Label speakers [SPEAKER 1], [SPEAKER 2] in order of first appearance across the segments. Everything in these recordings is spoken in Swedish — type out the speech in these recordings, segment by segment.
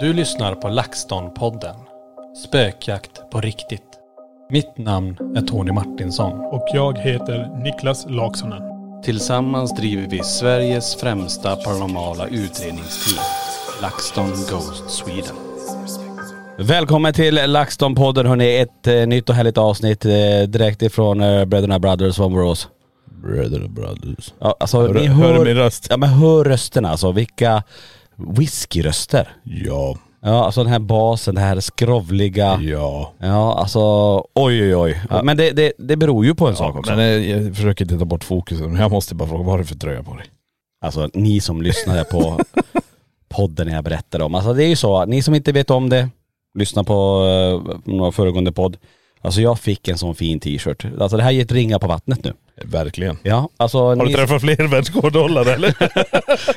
[SPEAKER 1] Du lyssnar på LaxTon-podden. Spökjakt på riktigt. Mitt namn är Tony Martinsson.
[SPEAKER 2] Och jag heter Niklas Laksonen.
[SPEAKER 3] Tillsammans driver vi Sveriges främsta paranormala utredningsteam, LaxTon Ghost Sweden.
[SPEAKER 4] Välkommen till LaxTon-podden hörni, ett eh, nytt och härligt avsnitt eh, direkt ifrån eh, Bröderna Brothers från Borås.
[SPEAKER 5] Bröderna Brothers.
[SPEAKER 4] Ja, alltså,
[SPEAKER 5] Hör-
[SPEAKER 4] ni
[SPEAKER 5] hör
[SPEAKER 4] hör,
[SPEAKER 5] du min röst?
[SPEAKER 4] Ja men hör rösterna alltså, vilka whiskyröster.
[SPEAKER 5] Ja,
[SPEAKER 4] Ja alltså den här basen, det här
[SPEAKER 5] Ah.
[SPEAKER 4] skrovliga.
[SPEAKER 5] ja.
[SPEAKER 4] Ja alltså, oj oj oj. Ja, men det, det, det beror ju på en sak också.
[SPEAKER 5] Men eh, jag försöker inte ta bort fokusen, men jag måste bara fråga, vad har du för tröja på dig?
[SPEAKER 4] Alltså ni som lyssnade på podden jag berättade om. Alltså det är ju så, ni som inte vet om det, lyssna på eh, några föregående podd. Alltså jag fick en sån fin t-shirt. Alltså det här är ett ringa på vattnet nu.
[SPEAKER 5] Verkligen.
[SPEAKER 4] Ja, alltså
[SPEAKER 5] Har du
[SPEAKER 4] ni,
[SPEAKER 5] träffat fler världsrekordhållare eller?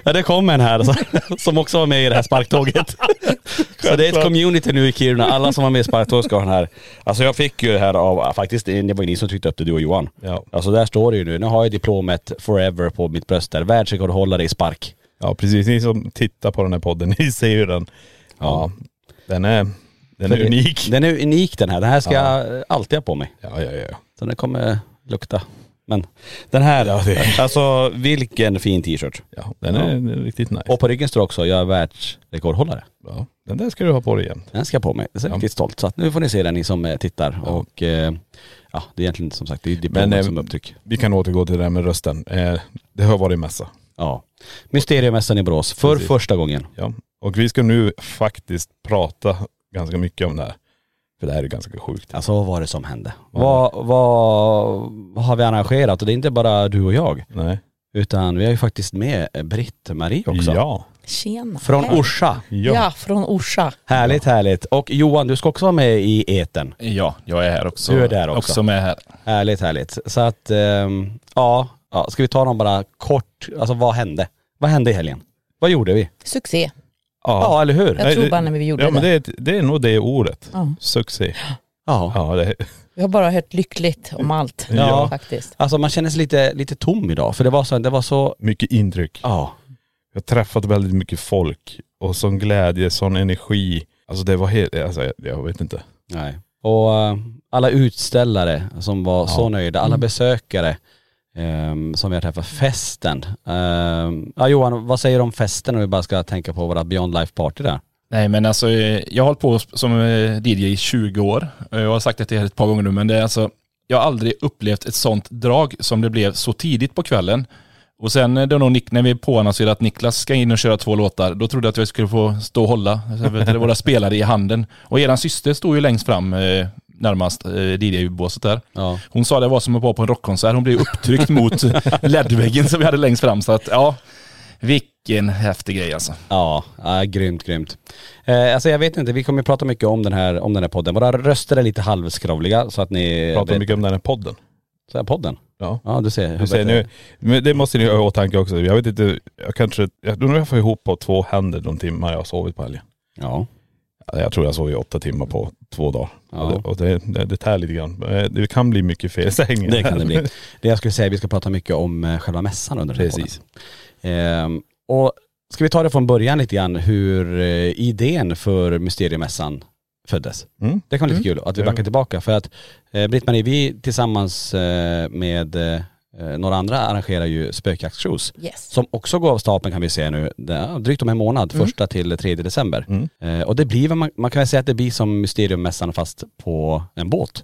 [SPEAKER 4] ja, det kom en här alltså, som också var med i det här sparktåget. så det är ett community nu i Kiruna, alla som var med i sparktåget ska ha den här. Alltså jag fick ju det här av, ja, faktiskt det var ju ni som tryckte upp det, du och Johan.
[SPEAKER 5] Ja.
[SPEAKER 4] Alltså där står det ju nu, nu har jag diplomet forever på mitt bröst där, världsrekordhållare i spark.
[SPEAKER 5] Ja precis, ni som tittar på den här podden, ni ser ju den. Ja. Den är, den är unik.
[SPEAKER 4] Den är unik den här, den här ska jag alltid ha på mig.
[SPEAKER 5] Ja, ja, ja.
[SPEAKER 4] Så den kommer lukta. Men den här, alltså vilken fin t-shirt.
[SPEAKER 5] ja den är den är riktigt nice.
[SPEAKER 4] Och på ryggen står också, jag är världsrekordhållare.
[SPEAKER 5] Ja. Den där ska du ha på dig jämt.
[SPEAKER 4] Den ska jag på mig. Det är jag
[SPEAKER 5] Ja.
[SPEAKER 4] riktigt stolt. Så att nu får ni se den ni som eh, tittar. Och eh, ja, det är egentligen inte som sagt, det är ju diplomet
[SPEAKER 5] Men, eh,
[SPEAKER 4] som upptyck.
[SPEAKER 5] Vi kan återgå till det där med rösten. Eh, det har varit mässa.
[SPEAKER 4] Ja. Mysteriemässan i Borås, för
[SPEAKER 5] Precis.
[SPEAKER 4] första gången.
[SPEAKER 5] Ja. Och vi ska nu faktiskt prata ganska mycket om det här. För det här är ganska sjukt.
[SPEAKER 4] Alltså vad var det som hände? Vad, vad, vad har vi arrangerat? Och det är inte bara du och jag.
[SPEAKER 5] Nej.
[SPEAKER 4] Utan vi har ju faktiskt med eh, Britt-Marie också.
[SPEAKER 5] Ja.
[SPEAKER 6] Tjena.
[SPEAKER 4] Från
[SPEAKER 6] Hej.
[SPEAKER 4] Orsa.
[SPEAKER 6] Ja. från Orsa.
[SPEAKER 4] Härligt, härligt. Och Johan, du ska också vara med i eten.
[SPEAKER 7] Ja, jag är här också.
[SPEAKER 4] Du är där också.
[SPEAKER 7] Också med här.
[SPEAKER 4] Härligt, härligt. Så att, ehm, ja, ja. Ska vi ta dem bara kort, alltså vad hände? Vad hände i helgen? Vad gjorde vi?
[SPEAKER 6] Succé.
[SPEAKER 4] Ja, eller hur?
[SPEAKER 6] Jag
[SPEAKER 5] Nej,
[SPEAKER 6] tror
[SPEAKER 5] det-
[SPEAKER 6] bara när vi gjorde
[SPEAKER 5] Ja
[SPEAKER 6] det.
[SPEAKER 5] men det är, ett- det är nog det ordet.
[SPEAKER 6] Ja.
[SPEAKER 5] Succé.
[SPEAKER 4] Ja.
[SPEAKER 5] Ja, det,
[SPEAKER 6] Vi har bara hört lyckligt om allt
[SPEAKER 4] Ja.
[SPEAKER 6] faktiskt.
[SPEAKER 4] Alltså man känner sig lite, lite tom idag, för det var så, det var så,
[SPEAKER 5] mycket intryck.
[SPEAKER 4] ja.
[SPEAKER 5] Jag har träffat väldigt mycket folk och sån glädje, sån energi. Alltså det var helt, alltså, jag, jag vet inte.
[SPEAKER 4] Nej. Och eh, alla utställare som var så nöjda, alla besökare ehm, som vi har träffat, festen. Ehm, ja Johan, vad säger du om festen om vi bara ska tänka på våra Beyond Life Party där?
[SPEAKER 7] Nej men alltså eh, jag har hållit på som eh, DJ i 20 år. Eh, Jag har sagt det till er ett par gånger nu men det är alltså, jag har aldrig upplevt ett sånt drag som det blev så tidigt på kvällen. Och sen eh, det var nog Nick, när vi påannonserade att Niklas ska in och köra två låtar, då trodde jag att jag skulle få stå och hålla Jag vet inte, våra spelare i handen. Och eran syster stod ju längst fram eh, närmast eh, DJ-båset där.
[SPEAKER 4] Ja.
[SPEAKER 7] Hon sa det var som att vara på en rockkonsert, hon blev upptryckt mot LED-väggen som vi hade längst fram. Så att ja, vilken häftig grej alltså.
[SPEAKER 4] Ja, ja grymt, grymt. Eh, alltså jag vet inte, vi kommer ju prata mycket om den här, om den här podden. Våra röster är lite halvskrovliga så att ni...
[SPEAKER 5] Pratar
[SPEAKER 4] vet-
[SPEAKER 5] mycket om den här podden.
[SPEAKER 4] Så här, podden?
[SPEAKER 5] Ja.
[SPEAKER 4] Ja du ser.
[SPEAKER 5] Du ser nu, men det måste ni ha i åtanke också. Jag vet inte, jag kanske, jag undrar om jag får ihop på två händer de timmar jag har sovit på helgen.
[SPEAKER 4] Ja.
[SPEAKER 5] Ja, Jag tror jag sov i åtta timmar på två dagar.
[SPEAKER 4] Ja.
[SPEAKER 5] Och, det, och det, det, det tär lite grann. Eh, Det kan bli mycket fel i sängen.
[SPEAKER 4] Det kan det bli. Det jag skulle säga, vi ska prata mycket om eh, själva mässan under den här
[SPEAKER 5] Precis.
[SPEAKER 4] podden. Ehm, och ska vi ta det från början lite grann hur eh, idén för Mysteriemässan föddes?
[SPEAKER 5] Mm.
[SPEAKER 4] Det kan vara lite kul att vi backar
[SPEAKER 5] Ja.
[SPEAKER 4] tillbaka för att eh, Britt-Marie, vi tillsammans eh, med eh, några andra arrangerar ju spökjaktsshows.
[SPEAKER 6] Yes.
[SPEAKER 4] som också går av stapeln kan vi säga nu, det är drygt om en månad, första till tredje december.
[SPEAKER 5] Mm.
[SPEAKER 4] Eh, och det blir, väl- man, man kan väl säga att det blir som Mysteriummässan fast på en båt.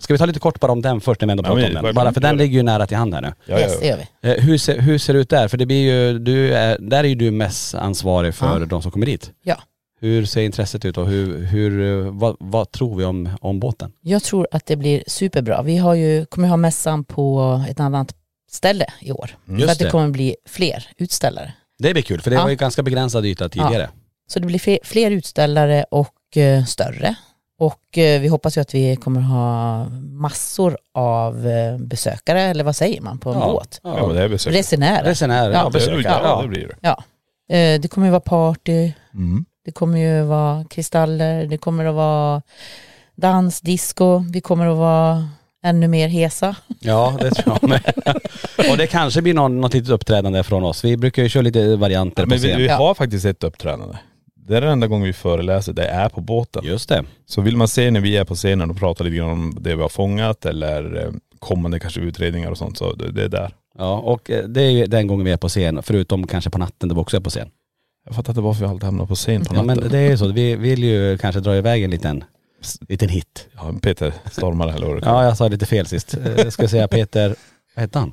[SPEAKER 4] Ska vi ta lite kort bara om den först när vi ändå
[SPEAKER 5] Ja,
[SPEAKER 4] pratar
[SPEAKER 5] men
[SPEAKER 4] om den?
[SPEAKER 5] självklart.
[SPEAKER 4] Bara för den ligger ju nära till hand här nu.
[SPEAKER 5] Ja,
[SPEAKER 6] yes, det
[SPEAKER 5] ja.
[SPEAKER 6] gör vi.
[SPEAKER 4] Eh, hur, ser, hur ser det ut där? För det blir ju, du är, där är ju du mest ansvarig för de som kommer dit.
[SPEAKER 6] Ja.
[SPEAKER 4] Hur ser intresset ut och hur, hur, eh, vad, vad tror vi om, om båten?
[SPEAKER 6] Jag tror att det blir superbra. Vi har ju, kommer ha mässan på ett annat ställe i år.
[SPEAKER 4] Just
[SPEAKER 6] så att Mm. det
[SPEAKER 4] det.
[SPEAKER 6] kommer bli fler utställare.
[SPEAKER 4] Det blir kul för det
[SPEAKER 6] Ja.
[SPEAKER 4] var ju ganska begränsad yta tidigare.
[SPEAKER 6] Så det blir fler, fler utställare och eh, större. Och eh, vi hoppas ju att vi kommer ha massor av eh, besökare, eller vad säger man, på en båt.
[SPEAKER 4] Ja.
[SPEAKER 5] Ja, men det är besök.
[SPEAKER 6] Resenärer.
[SPEAKER 4] Resenärer, ja,
[SPEAKER 6] Ja.
[SPEAKER 4] besökare.
[SPEAKER 5] Ja, det
[SPEAKER 4] Ja.
[SPEAKER 5] blir det.
[SPEAKER 6] Eh, det kommer ju vara party,
[SPEAKER 5] Mm.
[SPEAKER 6] Det kommer ju vara kristaller, det kommer att vara dans, disco, vi kommer att vara ännu mer hesa.
[SPEAKER 4] Ja, det tror jag med. Och det kanske blir någon, något litet uppträdande från oss. Vi brukar ju köra lite varianter på
[SPEAKER 5] Men vi,
[SPEAKER 4] scen.
[SPEAKER 5] vi
[SPEAKER 6] Ja.
[SPEAKER 5] har faktiskt ett uppträdande. det är den enda gången vi föreläser, det är på båten.
[SPEAKER 4] Just det.
[SPEAKER 5] Så vill man se när vi är på scenen och prata lite grann om det vi har fångat eller eh, kommande kanske utredningar och sånt, så det, det är där.
[SPEAKER 4] Ja, och eh, det är ju den gången vi är på scen, förutom kanske på natten där vi också är på scen.
[SPEAKER 5] Jag fattar inte varför vi alltid hamnar på scen på
[SPEAKER 4] Ja,
[SPEAKER 5] natten.
[SPEAKER 4] men det är ju så, vi vill ju kanske dra iväg en liten, liten hit.
[SPEAKER 5] Ja, Peter stormar eller vad det
[SPEAKER 4] Ja, jag sa lite fel sist. Eh, Jag ska säga Peter, vad hette han?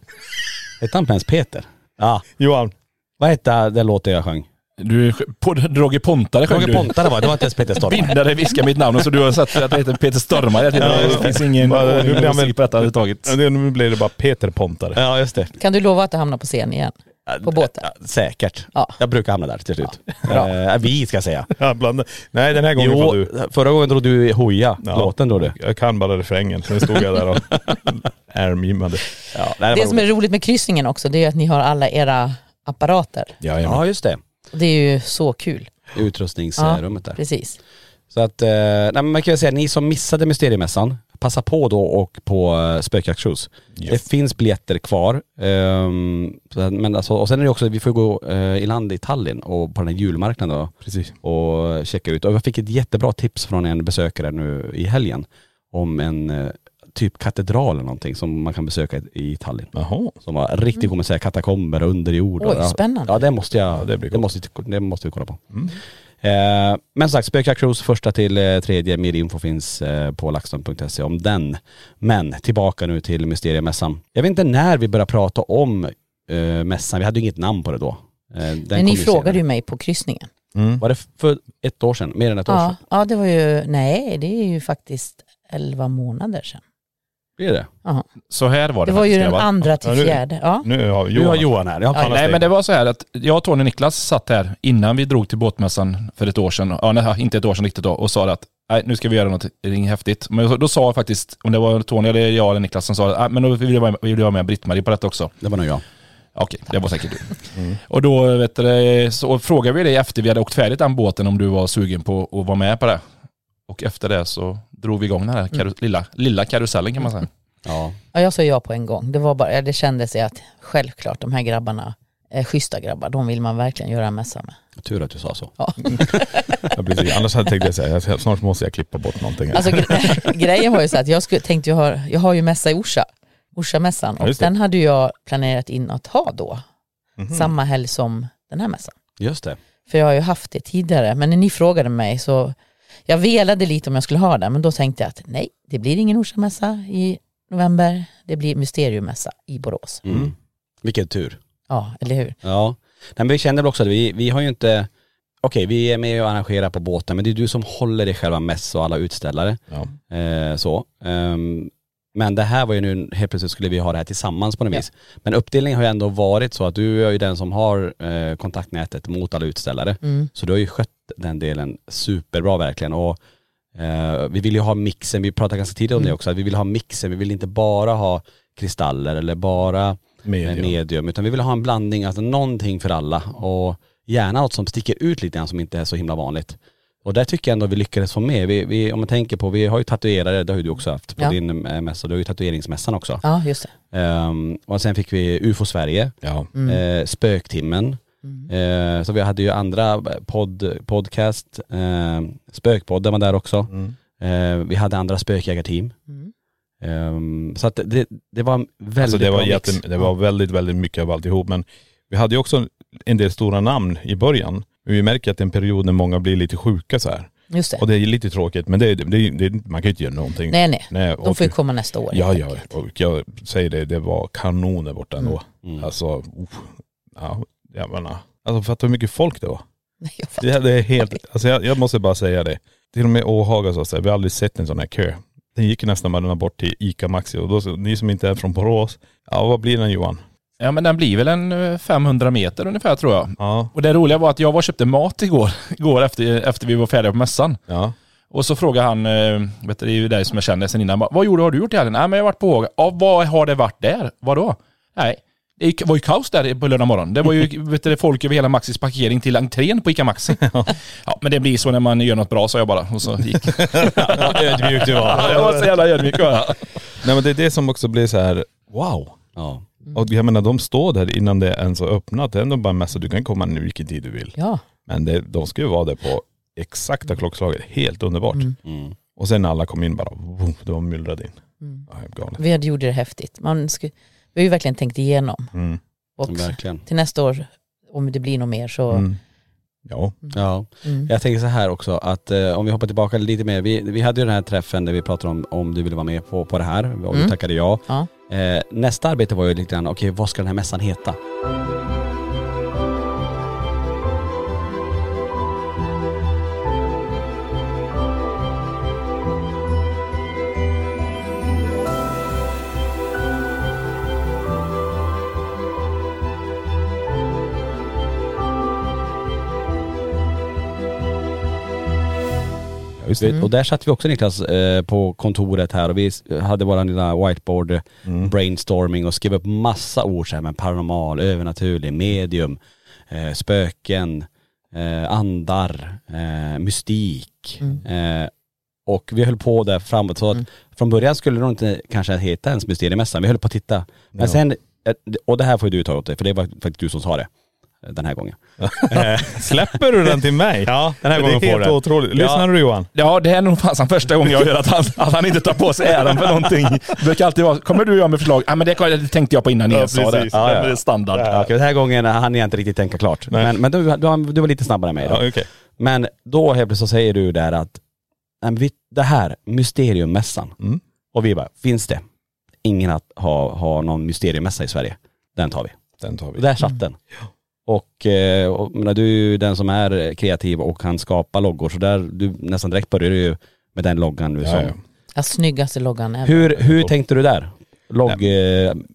[SPEAKER 4] Hette han ens Peter? Ja,
[SPEAKER 5] Johan,
[SPEAKER 4] vad hette den låten jag sjöng?
[SPEAKER 7] Du, på, Droge Pontare sjöng
[SPEAKER 4] Roger
[SPEAKER 7] du.
[SPEAKER 4] Pontare var det, det var inte ens Peter Stormare.
[SPEAKER 7] Bindare viskar mitt namn och så du har satt att jag heter Peter Stormare. Jag
[SPEAKER 5] Ja,
[SPEAKER 7] tänkte,
[SPEAKER 5] just
[SPEAKER 7] det
[SPEAKER 5] det.
[SPEAKER 7] finns ingen
[SPEAKER 5] Bara,
[SPEAKER 7] ordning
[SPEAKER 5] nu blir
[SPEAKER 7] och
[SPEAKER 5] han väl-
[SPEAKER 7] musik på detta överhuvudtaget.
[SPEAKER 5] Ja, det- nu blir det bara Peter Pontare.
[SPEAKER 4] Ja, just det.
[SPEAKER 6] Kan du lova att du hamnar på scen igen? På båten?
[SPEAKER 4] Ja, Säkert.
[SPEAKER 6] Ja.
[SPEAKER 4] Jag brukar hamna där till slut. Eh, vi ska jag säga.
[SPEAKER 5] Ja, bland... Nej den här gången
[SPEAKER 4] Jo,
[SPEAKER 5] var du.
[SPEAKER 4] förra gången drog du i Hoja,
[SPEAKER 5] Ja.
[SPEAKER 4] låten drog du.
[SPEAKER 5] Jag kan bara refrängen, sen stod jag där och ärmgymmade.
[SPEAKER 4] Ja, nej,
[SPEAKER 6] Det
[SPEAKER 4] var
[SPEAKER 6] som är roligt med kryssningen också, det är att ni har alla era apparater.
[SPEAKER 4] roligt. ja, just det.
[SPEAKER 6] Det är ju så kul.
[SPEAKER 4] Utrustningsrummet där.
[SPEAKER 6] Precis.
[SPEAKER 4] Så att, eh, nej, men man kan ju säga, ni som missade Mysteriemässan, passa på då och på eh, Spökjakt Shoes. Det finns biljetter kvar. ehm, så att- men alltså, och sen är det också, vi får ju gå eh, i land i Tallinn och på den här julmarknaden då,
[SPEAKER 5] Precis.
[SPEAKER 4] och checka ut. Och jag fick ett jättebra tips från en besökare nu i helgen om en eh, typ katedral eller någonting som man kan besöka i Tallinn.
[SPEAKER 5] Jaha.
[SPEAKER 4] Som var riktigt god med så här katakomber och under jord. och,
[SPEAKER 6] Oj, spännande.
[SPEAKER 4] Ja det måste jag,
[SPEAKER 5] Ja,
[SPEAKER 4] det,
[SPEAKER 5] det blir gott.
[SPEAKER 4] måste, vi- det måste vi kolla på.
[SPEAKER 5] Mm.
[SPEAKER 4] Eh, men som sagt, Spökjakt Cruise första till eh, tredje, mer info finns eh, på laxton.se om den. Men tillbaka nu till Mysteriemässan. Jag vet inte när vi började prata om eh, mässan, vi hade ju inget namn på det då. Eh, den
[SPEAKER 6] Men ni
[SPEAKER 4] kom
[SPEAKER 6] frågade ju
[SPEAKER 4] senare.
[SPEAKER 6] mig på kryssningen.
[SPEAKER 5] Mm.
[SPEAKER 4] Var det för ett år sedan? Mer än ett år
[SPEAKER 6] Ja,
[SPEAKER 4] sedan?
[SPEAKER 6] ja, det var ju, nej det är ju faktiskt 11 månader sedan.
[SPEAKER 4] Blir det?
[SPEAKER 7] Så här var det.
[SPEAKER 6] Det var ju
[SPEAKER 7] faktiskt,
[SPEAKER 6] den
[SPEAKER 7] grabbar.
[SPEAKER 6] andra till
[SPEAKER 5] Ja, nu-
[SPEAKER 6] fjärde. Ja.
[SPEAKER 5] Nu har
[SPEAKER 4] Du har
[SPEAKER 5] Johan...
[SPEAKER 4] Johan här. Ja,
[SPEAKER 7] Nej,
[SPEAKER 4] fan,
[SPEAKER 7] nej men det var så här att jag, Tony och Niklas satt här innan vi drog till båtmässan för ett år sedan, ja, nej, inte ett år sedan riktigt då, och sa att nej, nu ska vi göra någonting häftigt. Men så- då sa faktiskt, om det var Tony eller jag eller Niklas som sa att nej, men då vill jag vara med, vill jag vara med Britt-Marie på detta också.
[SPEAKER 4] det var nog jag.
[SPEAKER 7] Okej, det var säkert du. Och då vet du, så frågade vi dig efter vi hade åkt färdigt den båten om du var sugen på att vara med på det. Och efter det så drog vi igång den här karu- lilla, lilla karusellen kan man säga.
[SPEAKER 4] Ja.
[SPEAKER 6] ja, jag sa ja på en gång. Det, var bara, det kändes att självklart de här grabbarna, eh, schyssta grabbar, de vill man verkligen göra en mässa med.
[SPEAKER 4] Tur att du sa så.
[SPEAKER 5] Mm. Ja, precis. Annars hade jag tänkt säga, jag ska- snart måste jag klippa bort någonting. här.
[SPEAKER 6] Alltså gre- grejen var ju så att jag skulle, tänkte, jag har, jag har ju mässa i Orsa, Orsamässan,
[SPEAKER 5] Ja,
[SPEAKER 6] och
[SPEAKER 5] just det.
[SPEAKER 6] den hade jag planerat in att ha då,
[SPEAKER 5] Mhm.
[SPEAKER 6] samma helg som den här mässan.
[SPEAKER 4] Just det.
[SPEAKER 6] För jag har ju haft det tidigare, men när ni frågade mig så, jag velade lite om jag skulle ha den, men då tänkte jag att nej, det blir ingen Orsamässa i november, det blir Mysteriummässa i Borås.
[SPEAKER 4] Mm. Vilken tur.
[SPEAKER 6] Ja, eller hur?
[SPEAKER 4] Ja. Nej, men vi kände väl också att vi, vi har ju inte, okej vi är med och arrangerar på båten men det är du som håller i själva mäss och alla utställare.
[SPEAKER 5] Ja.
[SPEAKER 4] Eh, så. Ehm, men det här var ju nu, helt plötsligt skulle vi ha det här tillsammans på något vis. Men uppdelningen har ju ändå varit så att du är ju den som har eh, kontaktnätet mot alla utställare.
[SPEAKER 6] Mm.
[SPEAKER 4] Så du har ju skött den delen superbra verkligen. Och eh, vi vill ju ha mixen, vi pratade ganska tidigt om
[SPEAKER 6] Mm.
[SPEAKER 4] det också, att vi vill ha mixen, vi vill inte bara ha kristaller eller bara
[SPEAKER 5] Medium.
[SPEAKER 4] medium. medium utan vi vill ha en blandning, alltså någonting för alla och gärna något som sticker ut lite grann som inte är så himla vanligt. Och där tycker jag ändå vi lyckades få med, vi, vi, om man tänker på, vi har ju tatuerare, det har ju du också haft på
[SPEAKER 6] Ja.
[SPEAKER 4] din eh, mässa, du har ju tatueringsmässan också.
[SPEAKER 6] Ja, just det. Mm.
[SPEAKER 4] Ehm, och sen fick vi UFO Sverige,
[SPEAKER 5] Ja.
[SPEAKER 4] eh, Spöktimmen, eh, så vi hade ju andra podd, podcast, eh, Spökpodden var där också.
[SPEAKER 5] Mm.
[SPEAKER 4] Eh, vi hade andra spökjägarteam.
[SPEAKER 6] Mm.
[SPEAKER 4] Ehm, så att det, det var en väldigt
[SPEAKER 5] Alltså det
[SPEAKER 4] bra
[SPEAKER 5] var,
[SPEAKER 4] mix.
[SPEAKER 5] jätte, det var väldigt, väldigt mycket av alltihop. Men vi hade ju också en del stora namn i början. Men vi märker att det är en period när många blir lite sjuka så här.
[SPEAKER 6] Just det.
[SPEAKER 5] Och det är lite tråkigt, men det, det, det, man kan ju inte göra någonting.
[SPEAKER 6] Nej, nej.
[SPEAKER 5] Nej,
[SPEAKER 6] De
[SPEAKER 5] och
[SPEAKER 6] får ju komma nästa år.
[SPEAKER 5] Ja,
[SPEAKER 6] helt
[SPEAKER 5] ja.
[SPEAKER 6] enkelt.
[SPEAKER 5] Och jag säger det, det var kanoner borta ändå.
[SPEAKER 4] Mm.
[SPEAKER 5] Alltså, uff. ja, jag menar. Alltså fattar du hur mycket folk det var?
[SPEAKER 6] Nej, jag fattar.
[SPEAKER 5] Det, det är helt, alltså jag, jag måste bara säga det. Till och med Åhaga sa så här, vi har aldrig sett en sån här kö. Den gick ju nästan bara bort till ICA Maxi och då, så- ni som inte är från Borås, ja vad blir den Johan?
[SPEAKER 7] Ja men den blir väl en eh, 500 meter ungefär tror jag.
[SPEAKER 5] Ja.
[SPEAKER 7] Och det roliga var att jag var och köpte mat igår, igår efter, efter vi var färdiga på mässan.
[SPEAKER 5] Ja.
[SPEAKER 7] Och så frågade han, eh, vet du, det är ju dig som jag känner sen innan, bara, vad gjorde, har du gjort i helgen? Nej men jag har varit på Håga. Ja, vad har det varit där? Vadå? Nej, det gick- var ju kaos där på lördag morgon. Det var ju vet du, folk över hela Maxis parkering till entrén på Ica Maxi. Ja men det blir så när man gör något bra sa jag bara. Och så gick.
[SPEAKER 5] Ödmjuk du
[SPEAKER 7] Ja, jag var så jävla ödmjuk var jag.
[SPEAKER 5] Nej men det är det som också blir så här, wow.
[SPEAKER 4] Ja.
[SPEAKER 5] Och jag menar de står där innan det ens har öppnat. Det är ändå bara en mässa, du kan komma nu vilken tid du vill.
[SPEAKER 6] Ja,
[SPEAKER 5] Men det, de skulle ju vara där på exakta klockslaget. Helt underbart.
[SPEAKER 6] Mm.
[SPEAKER 4] Mm.
[SPEAKER 5] Och sen när alla kom in bara, vroom, de myllrade in.
[SPEAKER 6] Mm.
[SPEAKER 5] Ja, galet.
[SPEAKER 6] Vi hade gjort det häftigt. Man sku, vi har ju verkligen tänkt igenom.
[SPEAKER 5] Mm.
[SPEAKER 6] Och
[SPEAKER 4] Verkligen.
[SPEAKER 6] till nästa år, om det blir något mer så...
[SPEAKER 5] Mm. Ja.
[SPEAKER 4] Ja.
[SPEAKER 6] Mm.
[SPEAKER 4] Jag tänker så här också att eh, om vi hoppar tillbaka lite mer. Vi, vi hade ju den här träffen där vi pratade om om du ville vara med på, på det här och du
[SPEAKER 6] Mm.
[SPEAKER 4] tackade ja.
[SPEAKER 6] Ja.
[SPEAKER 4] Eh, nästa arbete var ju lite grann, okej vad ska den här mässan heta?
[SPEAKER 5] ja just det.
[SPEAKER 4] Vi- Och där satt vi också Niklas eh, på kontoret här och vi s- hade våran lilla whiteboard eh, brainstorming och skrev upp massa ord så här med paranormal, övernaturlig, medium, eh, spöken, eh, andar, eh, mystik.
[SPEAKER 6] Mm.
[SPEAKER 4] Eh, och vi höll på där framåt så att
[SPEAKER 6] Mm.
[SPEAKER 4] från början skulle de inte kanske heta ens Mysteriemässan, vi höll på att titta. Men sen, eh, och det här får ju du ta åt dig för det var faktiskt du som sa det eh, den här gången.
[SPEAKER 5] Släpper du den till mig? Ja,
[SPEAKER 4] den här gången
[SPEAKER 5] Det är
[SPEAKER 4] får
[SPEAKER 5] helt
[SPEAKER 4] du.
[SPEAKER 5] otroligt. Lyssnar du Johan?
[SPEAKER 7] Ja, det är nog fasen första gången jag hör att han, att han inte tar på sig äran för någonting. Det brukar alltid vara, kommer du och jag med förslag? Ja, men det, det tänkte jag på innan ni
[SPEAKER 5] Ja,
[SPEAKER 7] ens sa det.
[SPEAKER 5] precis.
[SPEAKER 7] Ja,
[SPEAKER 5] Ja, ja.
[SPEAKER 7] Det är standard.
[SPEAKER 4] Ja, okej, den här gången eh, hann jag inte riktigt tänka klart.
[SPEAKER 5] Nej.
[SPEAKER 4] Men, men du, du, du var lite snabbare än mig då.
[SPEAKER 5] Ja, okej.
[SPEAKER 4] Men då helt plötsligt så säger du där att nej, men vi- det här, mysteriummässan.
[SPEAKER 5] Mm.
[SPEAKER 4] Och vi bara, finns det? Ingen att ha, ha någon mysteriummässa i Sverige. Den tar vi.
[SPEAKER 5] Den tar vi.
[SPEAKER 4] Och där satt den. Och, eh, och men du är ju den som är kreativ och kan skapa loggor. Så där, du nästan direkt började ju med den loggan nu.
[SPEAKER 5] Ja,
[SPEAKER 4] som,
[SPEAKER 5] ja.
[SPEAKER 6] Ja, snyggaste loggan ever.
[SPEAKER 4] Hur, hur tänkte du där? eh,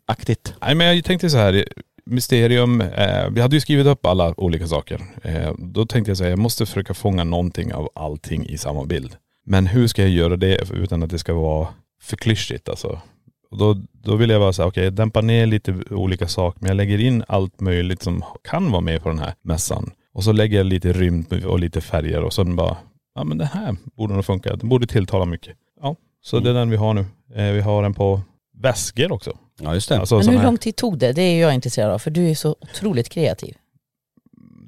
[SPEAKER 4] Loggaktigt.
[SPEAKER 5] Nej men jag tänkte så här, mysterium, eh, vi hade ju skrivit upp alla olika saker. Eh, då tänkte jag så här, jag måste försöka fånga någonting av allting i samma bild. Men hur ska jag göra det utan att det ska vara för klyschigt alltså? Och då, då vill jag vara så här, okej, dämpa ner lite olika saker, men jag lägger in allt möjligt som kan vara med på den här mässan. Och så lägger jag lite rymd och lite färger och sen bara, ja men det här borde nog funka, det borde tilltala mycket. Ja, så
[SPEAKER 6] Mm.
[SPEAKER 5] det är den vi har nu. Eh, vi har den på väskor också.
[SPEAKER 4] Ja just det.
[SPEAKER 5] Alltså
[SPEAKER 6] Men
[SPEAKER 5] såna
[SPEAKER 6] hur
[SPEAKER 5] här-
[SPEAKER 6] lång tid tog det? Det är jag intresserad av, för du är så otroligt kreativ.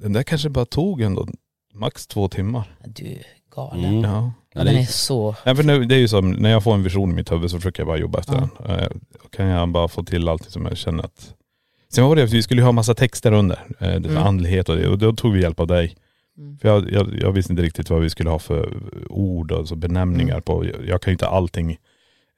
[SPEAKER 5] den där kanske bara tog ändå max två timmar.
[SPEAKER 6] Du är galen.
[SPEAKER 4] Mm.
[SPEAKER 5] Ja.
[SPEAKER 4] Ja,
[SPEAKER 6] Den är
[SPEAKER 4] det,
[SPEAKER 6] så...
[SPEAKER 5] Nej, för nu, det är ju som, när jag får en vision i mitt huvud så försöker jag bara jobba efter
[SPEAKER 6] Ja.
[SPEAKER 5] den. Eh, Då kan jag bara få till allt som jag känner att.. Sen var det att vi skulle ju ha massa texter under. eh, Det var
[SPEAKER 6] Mm.
[SPEAKER 5] andlighet och det. Och då tog vi hjälp av dig.
[SPEAKER 6] Mm.
[SPEAKER 5] För jag, jag, jag visste inte riktigt vad vi skulle ha för ord och så benämningar
[SPEAKER 6] Mm.
[SPEAKER 5] på. Jag, jag kan ju inte allting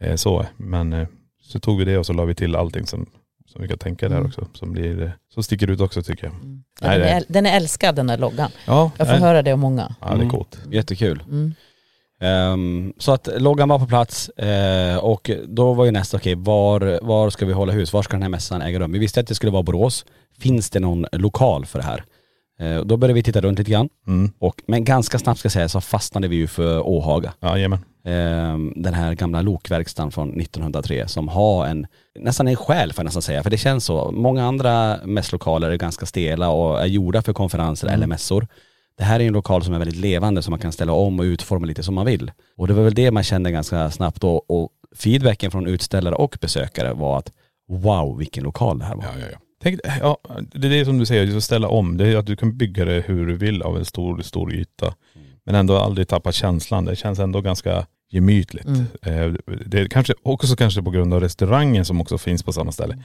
[SPEAKER 5] eh, så. Men eh, så tog vi det och så la vi till allting som, som vi kan tänka där
[SPEAKER 6] Mm.
[SPEAKER 5] också. Som blir, eh, som sticker ut också tycker jag.
[SPEAKER 6] Mm. Ja,
[SPEAKER 5] Nej,
[SPEAKER 6] den,
[SPEAKER 5] det-
[SPEAKER 6] är, den är älskad den där loggan.
[SPEAKER 5] Ja,
[SPEAKER 6] Jag får
[SPEAKER 5] nej.
[SPEAKER 6] höra det av många.
[SPEAKER 5] ja det är
[SPEAKER 4] Mm.
[SPEAKER 5] coolt.
[SPEAKER 4] jättekul.
[SPEAKER 6] Mm.
[SPEAKER 4] Ehm, så att loggan var på plats eh, och då var ju nästa, okej var, var ska vi hålla hus? Var ska den här mässan äga rum? Vi visste att det skulle vara Borås. Finns det någon lokal för det här? Eh, och då började vi titta runt lite grann.
[SPEAKER 5] Mm.
[SPEAKER 4] Och, men ganska snabbt ska jag säga så fastnade vi ju för Åhaga.
[SPEAKER 5] Jajamän.
[SPEAKER 4] Ehm, den här gamla lokverkstan från 1903 som har en, nästan en själ får jag nästan säga, för det känns så. Många andra mässlokaler är ganska stela och är gjorda för konferenser
[SPEAKER 5] Mm.
[SPEAKER 4] eller mässor. Det här är en lokal som är väldigt levande som man kan ställa om och utforma lite som man vill. Och det var väl det man kände ganska snabbt då och feedbacken från utställare och besökare var att wow vilken lokal det här var.
[SPEAKER 5] Ja, ja, ja. Tänk, ja, det är det som du säger, du ska ställa om. Det är att du kan bygga det hur du vill av en stor, stor yta.
[SPEAKER 4] Mm.
[SPEAKER 5] Men ändå aldrig tappa känslan. Det känns ändå ganska gemytligt. Eh, Det är kanske, också kanske på grund av restaurangen som också finns på samma ställe.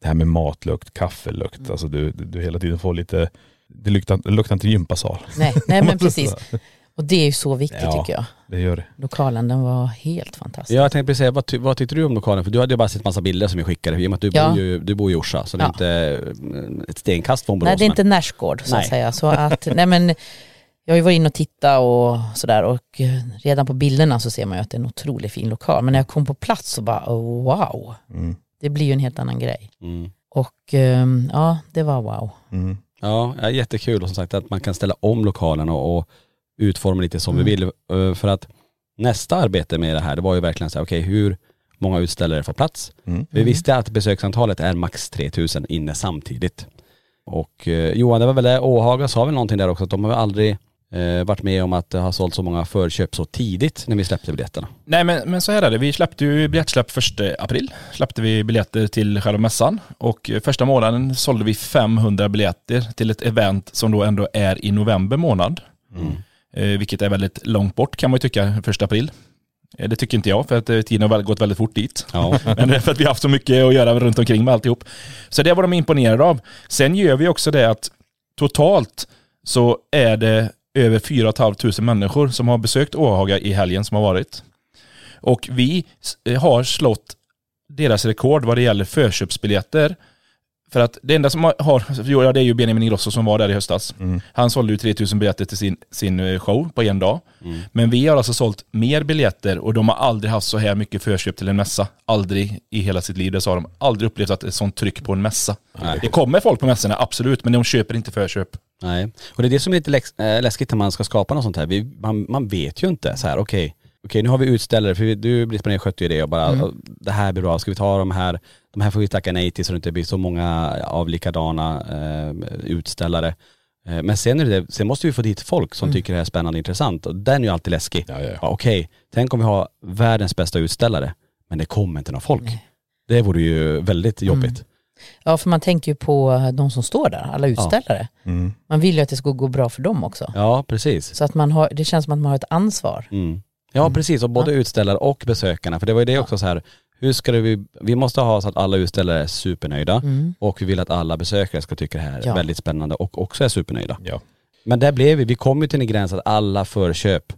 [SPEAKER 5] Det här med matlukt, kaffelukt. Alltså du, du, du hela tiden får lite, det luktar, det luktar inte gympasal.
[SPEAKER 6] Nej, nej men precis. Och det är ju så viktigt
[SPEAKER 5] Ja.
[SPEAKER 6] tycker jag.
[SPEAKER 5] Det gör det.
[SPEAKER 6] Lokalen den var helt fantastisk.
[SPEAKER 4] Jag tänkte precis säga, vad, ty, vad tyckte du om lokalen? För du hade ju bara sett massa bilder som jag skickade i och med att du,
[SPEAKER 6] Ja.
[SPEAKER 4] bor, ju, du bor i Orsa så det är
[SPEAKER 6] Ja.
[SPEAKER 4] inte eh, ett stenkast från Borås.
[SPEAKER 6] nej det är
[SPEAKER 4] men-
[SPEAKER 6] inte Närsgård så att
[SPEAKER 4] Nej.
[SPEAKER 6] säga. Så att, nej men, jag har ju varit inne och tittat och sådär och eh, redan på bilderna så ser man ju att det är en otroligt fin lokal. Men när jag kom på plats så bara oh, wow,
[SPEAKER 5] Mm.
[SPEAKER 6] det blir ju en helt annan grej.
[SPEAKER 4] Mm.
[SPEAKER 6] Och ehm, ja, det var wow.
[SPEAKER 5] Mm.
[SPEAKER 4] Ja, ja, jättekul och som sagt att man kan ställa om lokalen och, och utforma lite som vi
[SPEAKER 6] Mm.
[SPEAKER 4] vill. Eh, För att nästa arbete med det här, det var ju verkligen så här, okej hur många utställare får plats?
[SPEAKER 5] Mm.
[SPEAKER 4] Vi visste att besöksantalet är max 3000 inne samtidigt. Och eh, Johan, det var väl det, Åhaga sa väl någonting där också, att de har väl aldrig eh, varit med om att det har sålt så många förköp så tidigt när vi släppte biljetterna.
[SPEAKER 7] Nej men, men så här är det, vi släppte ju biljettsläpp 1 april. Släppte vi biljetter till själva mässan och eh, första månaden sålde vi 500 biljetter till ett event som då ändå är i november månad.
[SPEAKER 5] Mm.
[SPEAKER 4] Mm.
[SPEAKER 7] Eh, vilket är väldigt långt bort kan man ju tycka, 1 april. Eh, det tycker inte jag för att eh, tiden har väl gått väldigt fort dit.
[SPEAKER 4] Ja.
[SPEAKER 7] Men det är för att vi har haft så mycket att göra runt omkring med alltihop. Så det var de imponerade av. Sen gör vi också det att totalt så är det över 4 500 människor som har besökt Åhaga i helgen som har varit. Och vi s- har slått deras rekord vad det gäller förköpsbiljetter. För att det enda som har- har, jo, ja, det är ju Benjamin Ingrosso som var där i höstas. Han sålde ju 3000 biljetter till sin, sin eh, show på en dag. Men vi har alltså sålt mer biljetter och de har aldrig haft så här mycket förköp till en mässa. Aldrig i hela sitt liv, det sa de. Aldrig upplevt att det är sånt tryck på en mässa. Det kommer folk på mässorna, absolut, men de köper inte förköp.
[SPEAKER 4] Nej. Och det är det som är lite läx- eh, läskigt när man ska skapa något sånt här. Vi, man, man vet ju inte så här, okej, okej nu har vi utställare, för vi, du Britt-Marie skötte ju det och bara,
[SPEAKER 5] Mm.
[SPEAKER 4] det här blir bra, ska vi ta de här, de här får vi tacka nej till så det inte blir så många av likadana eh, utställare. Eh, Men sen, är det, sen måste vi få dit folk som tycker det här är spännande och intressant och den är ju alltid läskig.
[SPEAKER 5] Mm. Ja, ja, ja.
[SPEAKER 4] okej, tänk om vi har världens bästa utställare, men det kommer inte någon folk. Det vore ju väldigt
[SPEAKER 5] Mm.
[SPEAKER 4] jobbigt.
[SPEAKER 6] Ja, för man tänker ju på de som står där, alla utställare. Man vill ju att det ska gå bra för dem också.
[SPEAKER 4] Mm. Ja, precis.
[SPEAKER 6] Så att man har, det känns som att man har ett ansvar.
[SPEAKER 4] Mm. Ja precis, och både utställare och besökarna. För det var ju det också så här, hur ska det, vi, vi måste ha så att alla utställare är supernöjda
[SPEAKER 6] Mm.
[SPEAKER 4] och vi vill att alla besökare ska tycka det här är
[SPEAKER 6] Ja.
[SPEAKER 4] väldigt spännande och också är supernöjda.
[SPEAKER 5] Ja.
[SPEAKER 4] Men där blev vi, vi kom ju till en gräns att alla förköp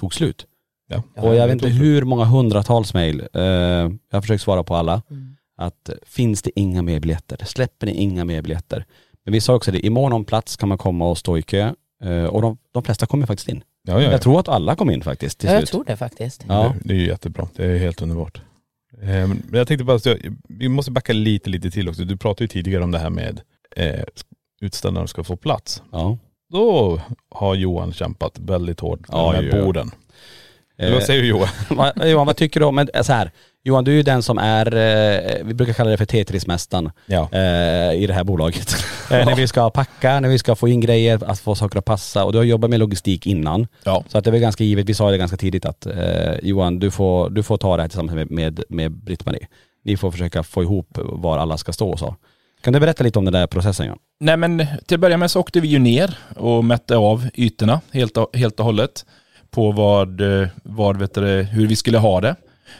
[SPEAKER 4] tog slut.
[SPEAKER 5] Ja.
[SPEAKER 4] och jag vet inte hur många hundratals mejl, eh, jag har försökt svara på alla,
[SPEAKER 6] Mm.
[SPEAKER 4] att finns det inga mer biljetter? Släpper ni inga mer biljetter? Men vi sa också det, imorgon om plats kan man komma och stå i kö eh, och de, de flesta kommer faktiskt in.
[SPEAKER 5] Ja, ja, ja.
[SPEAKER 4] Jag tror att alla kom in faktiskt till
[SPEAKER 6] Ja, jag
[SPEAKER 4] slut.
[SPEAKER 6] tror det faktiskt.
[SPEAKER 4] Ja.
[SPEAKER 5] Det, det är ju jättebra. Det är helt underbart. Eh, Men jag tänkte bara, att jag, vi måste backa lite, lite till också. Du pratade ju tidigare om det här med eh, utställarna ska få plats.
[SPEAKER 4] ja.
[SPEAKER 5] Då har Johan kämpat väldigt hårt med
[SPEAKER 4] Ja, Eh.
[SPEAKER 5] de här
[SPEAKER 4] ja, ja.
[SPEAKER 5] borden. Vad säger du Johan?
[SPEAKER 4] Vad- Johan, vad tycker du om, men eh, så här, Johan du är ju den som är, eh, vi brukar kalla det för Tetrismästaren
[SPEAKER 5] Ja.
[SPEAKER 4] eh, i det här bolaget. eh, när vi ska packa, när vi ska få in grejer, att få saker att passa och du har jobbat med logistik innan.
[SPEAKER 7] Ja.
[SPEAKER 4] Så att det är väl ganska givet, vi sa det ganska tidigt att eh, Johan du får, du får ta det här tillsammans med, med, med Britt-Marie. Ni får försöka få ihop var alla ska stå och så. Kan du berätta lite om den där processen Johan?
[SPEAKER 7] Nej men till att börja med så åkte vi ju ner och mätte av ytorna helt, och- helt och hållet på vad, eh, vad vet du, hur vi skulle ha det.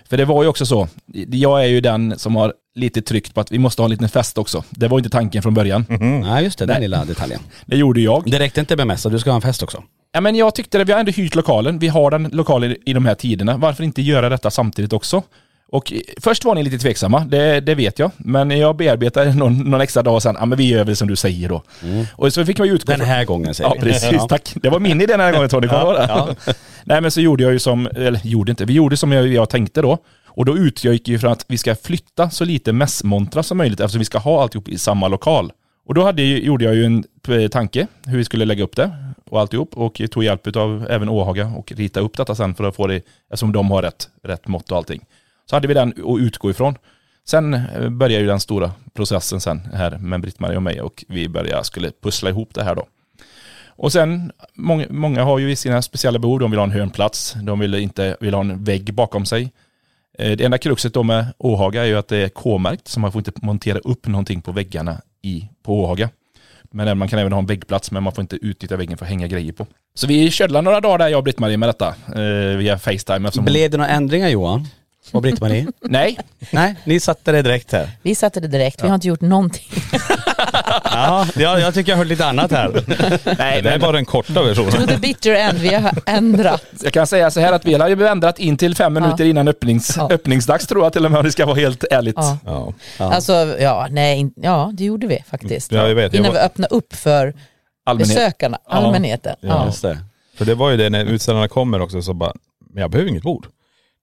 [SPEAKER 7] För det var ju också så, jag är ju den som har lite tryckt på att vi måste ha en liten fest också. Det var ju inte tanken från början.
[SPEAKER 4] Nej just det, den
[SPEAKER 7] Mm. Nej.
[SPEAKER 4] lilla detaljen.
[SPEAKER 7] Det gjorde jag.
[SPEAKER 4] Det räckte inte med mässa, du ska ha en fest också.
[SPEAKER 7] Ja, men jag tyckte det, vi har ändå hyrt lokalen, vi har den lokalen i de här tiderna. Varför inte göra detta samtidigt också? Och eh, först var ni lite tveksamma, det, det vet jag. Men jag bearbetade någon, någon extra dag och sen, ja men vi gör väl som du säger då. Och så fick man ju utgå
[SPEAKER 4] Den
[SPEAKER 7] från-
[SPEAKER 4] här gången säger
[SPEAKER 7] Ja
[SPEAKER 4] vi.
[SPEAKER 7] precis, tack. Det var min idé den här gången Tony, kommer du ihåg det? Nej men så gjorde jag ju som, eller gjorde inte, vi gjorde som jag, jag tänkte då. Och då utgick ju från att vi ska flytta så lite mässmontrar som möjligt eftersom vi ska ha alltihop i samma lokal. Och då hade, ju- gjorde jag ju en eh, tanke hur vi skulle lägga upp det och alltihop och tog hjälp av även Åhaga och rita upp detta sen för att få det, eftersom de har rätt, rätt mått och allting. Så hade vi den att utgå ifrån. Sen eh, började ju den stora processen sen här med Britt-Marie och mig och vi började, skulle pussla ihop det här då. Och sen, många, många har ju sina speciella behov. De vill ha en hörnplats, de vill inte vill ha en vägg bakom sig. Eh, Det enda kruxet då med Åhaga är ju att det är K-märkt, så man får inte montera upp någonting på väggarna i, på Åhaga. Men även- man kan även ha en väggplats, men man får inte utnyttja väggen för att hänga grejer på. Så vi körde några dagar där, jag och Britt-Marie med detta, eh, via Facetime. eftersom-
[SPEAKER 4] Blev det några ändringar Johan? Och Britt-Marie?
[SPEAKER 7] Nej,
[SPEAKER 4] Nej, ni satte det direkt här.
[SPEAKER 6] Vi satte det direkt, vi har inte gjort någonting.
[SPEAKER 4] Ja, jag, jag tycker jag hörde lite annat här.
[SPEAKER 7] nej,
[SPEAKER 5] Det är
[SPEAKER 7] men
[SPEAKER 5] bara den korta versionen.
[SPEAKER 6] To the bitter end, vi har ändrat.
[SPEAKER 7] jag kan säga så här att vi har ju ändrat in till fem minuter innan öppnings,
[SPEAKER 6] Ja.
[SPEAKER 7] öppningsdags tror jag till och med, om det ska vara helt ärligt.
[SPEAKER 6] Ja.
[SPEAKER 5] Ja.
[SPEAKER 6] Alltså, ja, nej, in, ja, det gjorde vi faktiskt.
[SPEAKER 5] Ja, jag vet. Jag
[SPEAKER 6] Innan
[SPEAKER 5] var-
[SPEAKER 6] vi öppnade upp för
[SPEAKER 7] Allmänhet.
[SPEAKER 6] besökarna, allmänheten. Ja.
[SPEAKER 4] Just det.
[SPEAKER 5] För det var ju det när utställarna kommer också så bara, men jag behöver inget bord.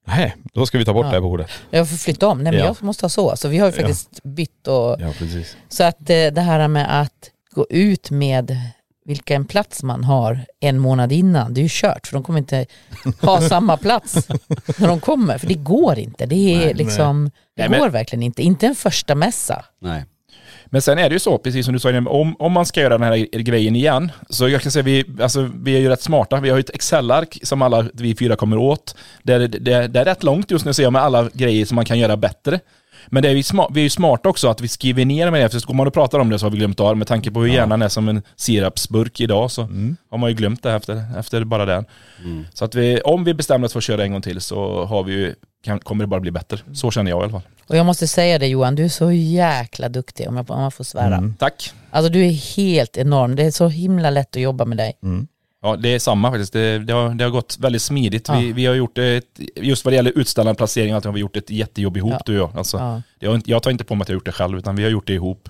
[SPEAKER 5] Nej, då ska vi ta bort det här bordet.
[SPEAKER 6] Jag får flytta om, nej men
[SPEAKER 5] Ja.
[SPEAKER 6] jag måste ha så. Så vi har ju faktiskt bytt och
[SPEAKER 5] Ja precis.
[SPEAKER 6] Så att eh, det här med att gå ut med vilken plats man har en månad innan, det är ju kört för de kommer inte ha samma plats när de kommer. För det går inte, det är liksom, det
[SPEAKER 7] Nej, men-
[SPEAKER 6] går verkligen inte. Inte en första mässa.
[SPEAKER 4] Nej.
[SPEAKER 7] Men sen är det ju så, precis som du sa, innan, om, om man ska göra den här grejen igen, så jag kan säga vi, alltså, vi är ju rätt smarta. Vi har ju ett Excel-ark som alla vi fyra kommer åt. Det är, det, det är rätt långt just nu ser jag med alla grejer som man kan göra bättre. Men det är vi, sma- vi är ju smarta också att vi skriver ner med det, för så går man och pratar om det så har vi glömt av det. Med tanke på hur hjärnan är som en sirapsburk idag så har man ju glömt det efter, efter bara den. Så att vi, om vi bestämmer oss för att köra en gång till så har vi ju, kan, kommer det bara bli bättre. Så känner jag i alla fall.
[SPEAKER 6] Och jag måste säga det Johan, du är så jäkla duktig om, jag, om man får svära.
[SPEAKER 7] Tack.
[SPEAKER 6] Alltså du är helt enorm, det är så himla lätt att jobba med dig.
[SPEAKER 7] Ja, det är samma faktiskt. Det, det, har, det har gått väldigt smidigt. Vi, vi har gjort ett, just vad det gäller utställande, placering och allt, har vi gjort ett jättejobb ihop
[SPEAKER 6] Ja.
[SPEAKER 7] du och jag. Alltså,
[SPEAKER 6] Ja.
[SPEAKER 7] jag, har inte- jag tar inte på mig att jag har gjort det själv, utan vi har gjort det ihop.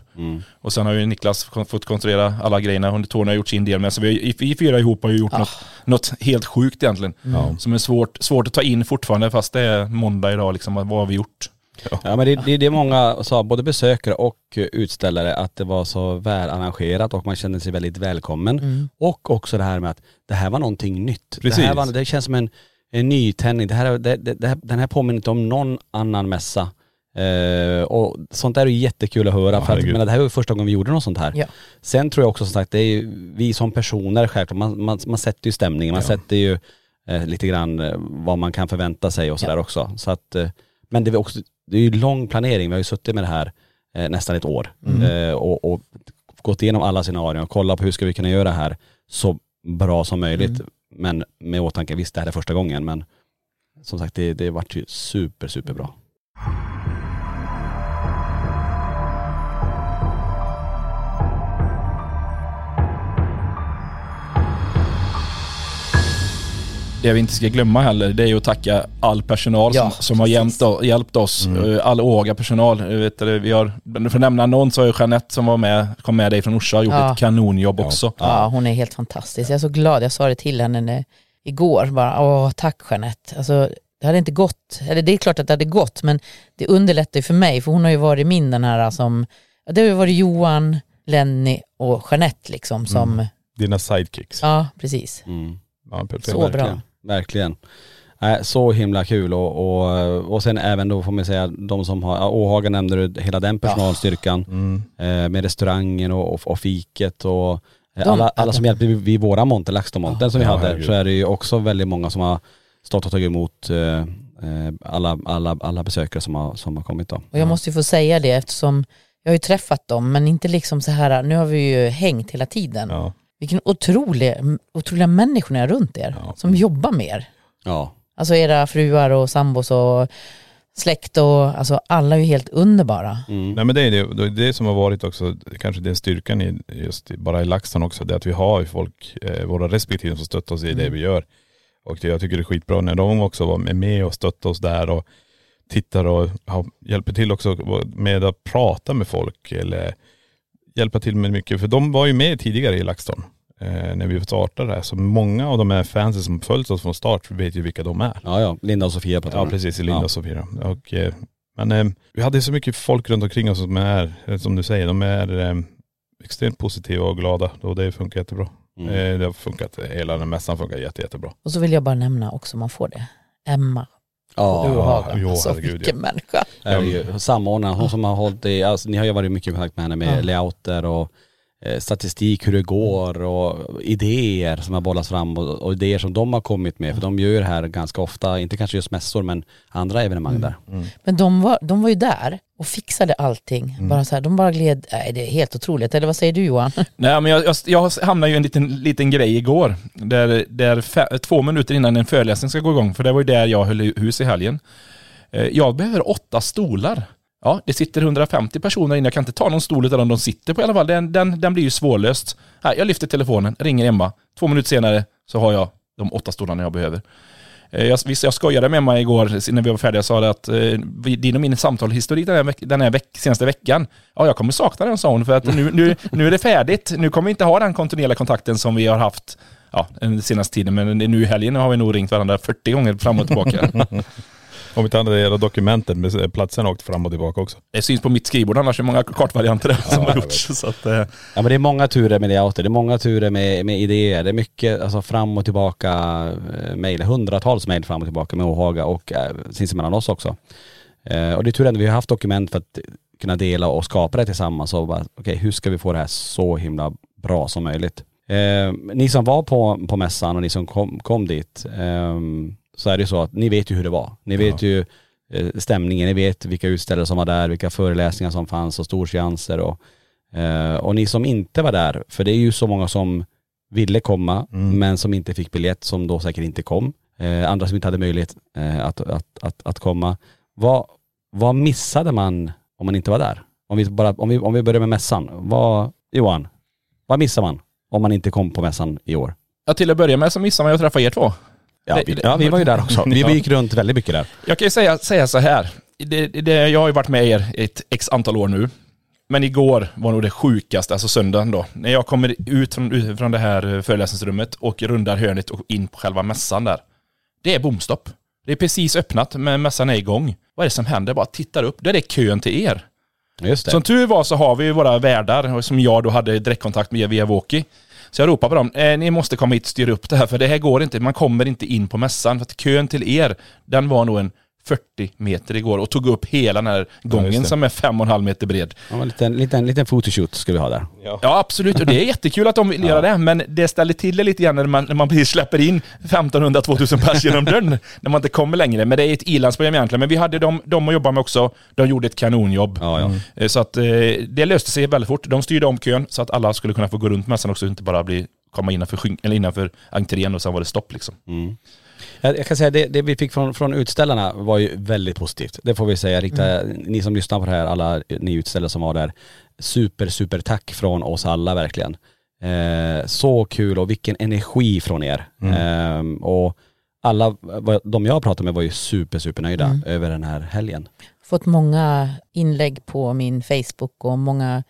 [SPEAKER 7] Och sen har ju Niklas kon- fått kontrollera alla grejerna, och Tony har gjort sin del med. Så vi, har- vi fyra ihop har ju gjort något, något helt sjukt egentligen.
[SPEAKER 6] Mm.
[SPEAKER 7] Som är svårt, svårt att ta in fortfarande, fast det är måndag idag liksom. Vad har vi gjort?
[SPEAKER 4] Ja men det, det, det är många sa, både besökare och eh, utställare, att det var så väl arrangerat och man kände sig väldigt välkommen. Och också det här med att det här var någonting nytt. Det, här
[SPEAKER 5] Precis.
[SPEAKER 4] var, det känns som en, en nytändning. Det här, är- det, det, det här, den här påminner inte om någon annan mässa. Eh, och sånt där är ju jättekul att höra för att,
[SPEAKER 5] herregud.
[SPEAKER 4] men det här var ju första gången vi gjorde något sånt här.
[SPEAKER 6] Ja.
[SPEAKER 4] Sen tror jag också som sagt, det är ju, vi som personer självklart, man, man, man sätter ju stämningen, man sätter ju eh, lite grann eh, vad man kan förvänta sig och sådär också. Så att, eh, men det är, också, det är ju lång planering, vi har ju suttit med det här eh, nästan ett år eh, och, och gått igenom alla scenarion och kollat på hur ska vi kunna göra det här så bra som möjligt. Men med åtanke, visst det här är första gången men som sagt det, det vart ju super, superbra.
[SPEAKER 7] Det vi inte ska glömma heller, det är ju att tacka all personal
[SPEAKER 6] Ja,
[SPEAKER 7] som, som har hjälpt, hjälpt oss.
[SPEAKER 6] Mm.
[SPEAKER 7] Eh, All åga-personal. eh, Vet du, vi har, för att nämna någon så har ju Jeanette som var med, kom med dig från Orsa och gjort
[SPEAKER 6] Ja.
[SPEAKER 7] ett kanonjobb också.
[SPEAKER 6] Ja, hon är helt fantastisk. Jag är så glad, jag sa det till henne när, igår, bara åh tack Jeanette. Alltså, det hade inte gått, eller det är klart att det hade gått, men det underlättar ju för mig, för hon har ju varit min den här alltså, som, ja, det har ju varit Johan, Lenny och Jeanette liksom som,
[SPEAKER 5] Dina sidekicks.
[SPEAKER 6] ja precis.
[SPEAKER 4] Mm.
[SPEAKER 5] Ja, perfekt.
[SPEAKER 6] Så bra.
[SPEAKER 4] Verkligen. Verkligen. Nej, så himla kul och, och, och sen även då får man säga de som har, ja, Åhaga nämnde du, hela den personalstyrkan
[SPEAKER 5] Mm,
[SPEAKER 4] eh, med restaurangen och, och, och fiket och eh, alla, alla som hjälpte vid, vid våra monter, LaxTon-montern som vi
[SPEAKER 5] Ja,
[SPEAKER 4] hade,
[SPEAKER 5] herregud.
[SPEAKER 4] så är det ju också väldigt många som har stått och tagit emot eh, eh, alla, alla, alla besökare som har, som har kommit då.
[SPEAKER 6] Och jag måste ju få säga det eftersom jag har ju träffat dem, men inte liksom så här, nu har vi ju hängt hela tiden.
[SPEAKER 5] Ja.
[SPEAKER 6] Vilken otrolig, otroliga människor ni har runt er, som jobbar med er.
[SPEAKER 4] Ja,
[SPEAKER 6] Alltså era fruar och sambos och släkt och alltså alla är ju helt underbara.
[SPEAKER 4] Mm.
[SPEAKER 5] Nej men det är det, det, är det som har varit också, kanske den styrkan i, just i- bara i LaxTon också, det är att vi har ju folk, eh, våra respektive som stöttar oss i det vi gör. Och det, jag tycker det är skitbra när de också var med- med och stöttar oss där och tittar och har, hjälper till också med att prata med folk eller hjälpa till med mycket. För de var ju med tidigare i LaxTon eh, när vi startade det här. Så många av de här fansen som följt oss från start vet ju vilka de är.
[SPEAKER 4] ja, ja. Linda och Sofia pratade
[SPEAKER 5] Ja
[SPEAKER 4] om det.
[SPEAKER 5] precis, i Linda
[SPEAKER 4] Ja.
[SPEAKER 5] och Sofia. Och, eh, men eh, vi hade så mycket folk runt omkring oss som är, eh, som du säger, de är eh, extremt positiva och glada och det funkar jättebra.
[SPEAKER 4] Mm.
[SPEAKER 5] Eh, det har funkat, hela den mässan funkar jätte, jättebra.
[SPEAKER 6] Och så vill jag bara nämna också, om man får det, Emma och
[SPEAKER 4] Ja,
[SPEAKER 6] du och Haga.
[SPEAKER 5] jo,
[SPEAKER 6] alltså
[SPEAKER 5] herregud,
[SPEAKER 6] vilken människa.
[SPEAKER 4] är det ju samordnaren, hon som har hållit i, alltså, ni har ju varit mycket i kontakt med henne med
[SPEAKER 6] Ja.
[SPEAKER 4] layouter och eh, statistik, hur det går och idéer som har bollats fram och, och idéer som de har kommit med. För de gör ju det här ganska ofta, inte kanske just mässor men andra evenemang där.
[SPEAKER 6] Men de var, de var ju där och fixade allting. Bara så här, de bara gled, nej det är helt otroligt. Eller vad säger du Johan?
[SPEAKER 7] Nej, men jag, jag, jag hamnade ju i en liten, liten grej igår. Där, där fe, två minuter innan en föreläsning ska gå igång, för det var ju där jag höll i- hus i helgen. Eh, Jag behöver åtta stolar. Ja, det sitter 150 personer inne. Jag kan inte ta någon stol utan de sitter på i alla fall. Den, den, den blir ju svårlöst. Här, jag lyfter telefonen, ringer Emma. Två minuter senare så har jag de åtta stolarna jag behöver. Eh, Jag, visst, jag skojade med Emma igår när vi var färdiga och sa det att eh, vi- din och min samtalshistorik den här, veck, den här veck, senaste veckan, ja jag kommer sakna den sa hon för att nu, nu, nu är det färdigt. Nu kommer vi inte ha den kontinuerliga kontakten som vi har haft ja, den senaste tiden, men nu i helgen har vi nog ringt varandra 40 gånger fram och tillbaka.
[SPEAKER 5] Om inte annat är det dokumenten med eh, platserna åkt fram och tillbaka också.
[SPEAKER 7] Det syns på mitt skrivbord annars, hur många kartvarianter det är som har gjorts. Så att, eh,
[SPEAKER 4] Ja men det är många turer med layouter, det är många turer med, med idéer, det är mycket alltså, fram och tillbaka eh, mejl, hundratals mejl fram och tillbaka med Åhaga och eh, sinsemellan oss också. Eh, och det är tur ändå vi har haft dokument för att kunna dela och skapa det tillsammans och bara, okej hur ska vi få det här så himla bra som möjligt? Eh, ni som var på, på mässan och ni som kom, kom dit, ehm, så är det ju så att ni vet ju hur det var. Ni vet ju eh, stämningen, ni vet vilka utställare som var där, vilka föreläsningar som fanns och storseanser och, eh, och ni som inte var där, för det är ju så många som ville komma
[SPEAKER 5] Mm.
[SPEAKER 4] men som inte fick biljett som då säkert inte kom. Eh, andra som inte hade möjlighet eh, att, att, att, att komma. Vad, vad missade man om man inte var där? Om vi, bara, om vi, om vi börjar med mässan. Vad, Johan, vad missar man om man inte kom på mässan i år?
[SPEAKER 7] Ja, till att börja med så missar man ju att träffa er två.
[SPEAKER 4] Ja, vi, ja, vi var ju där också. Vi gick runt väldigt mycket där.
[SPEAKER 7] Jag kan ju säga, säga så här. Det, det, jag har ju varit med er ett x antal år nu. Men igår var nog det sjukaste, alltså söndagen då. När jag kommer ut från, ut från det här eh, föreläsningsrummet och rundar hörnet och in på själva mässan där. Det är bomstopp. Det är precis öppnat, men mässan är igång. Vad är det som händer? Jag bara tittar upp. Där är kön till er.
[SPEAKER 4] Just det.
[SPEAKER 7] Som tur var så har vi ju våra värdar, och som jag då hade direktkontakt med via Walkie. Så jag ropade på dem, eh, ni måste komma hit och styra upp det här, för det här går inte. Man kommer inte in på mässan, för att kön till er, den var nog en 40 meter igår och tog upp hela den här gången
[SPEAKER 5] det.
[SPEAKER 7] som är 5,5 meter bred.
[SPEAKER 4] Det var en liten, liten, liten photoshoot skulle vi ha där.
[SPEAKER 7] Ja absolut, och det är jättekul att de vill göra det, men det ställer till det lite grann när man, när man precis släpper in 1500-2000 pers genom dörren. när man inte kommer längre. Men det är ett ilandsprogram egentligen. Men vi hade dem, dem att jobba med också. De gjorde ett kanonjobb.
[SPEAKER 4] Ja, ja.
[SPEAKER 7] Eh, Så att eh, det löste sig väldigt fort. De styrde om kön så att alla skulle kunna få gå runt mässan också, inte bara bli, komma innanför, skyn- eller innanför entrén och sen var det stopp liksom.
[SPEAKER 4] Jag, jag kan säga det, det vi fick från, från utställarna var ju väldigt positivt. Det får vi säga. Rikta, Ni som lyssnar på det här, alla ni utställare som var där. Super, super tack från oss alla verkligen. Eh, så kul och vilken energi från er. Eh, och alla, vad- de jag pratade med var ju super, super nöjda över den här helgen.
[SPEAKER 6] Fått många inlägg på min Facebook och många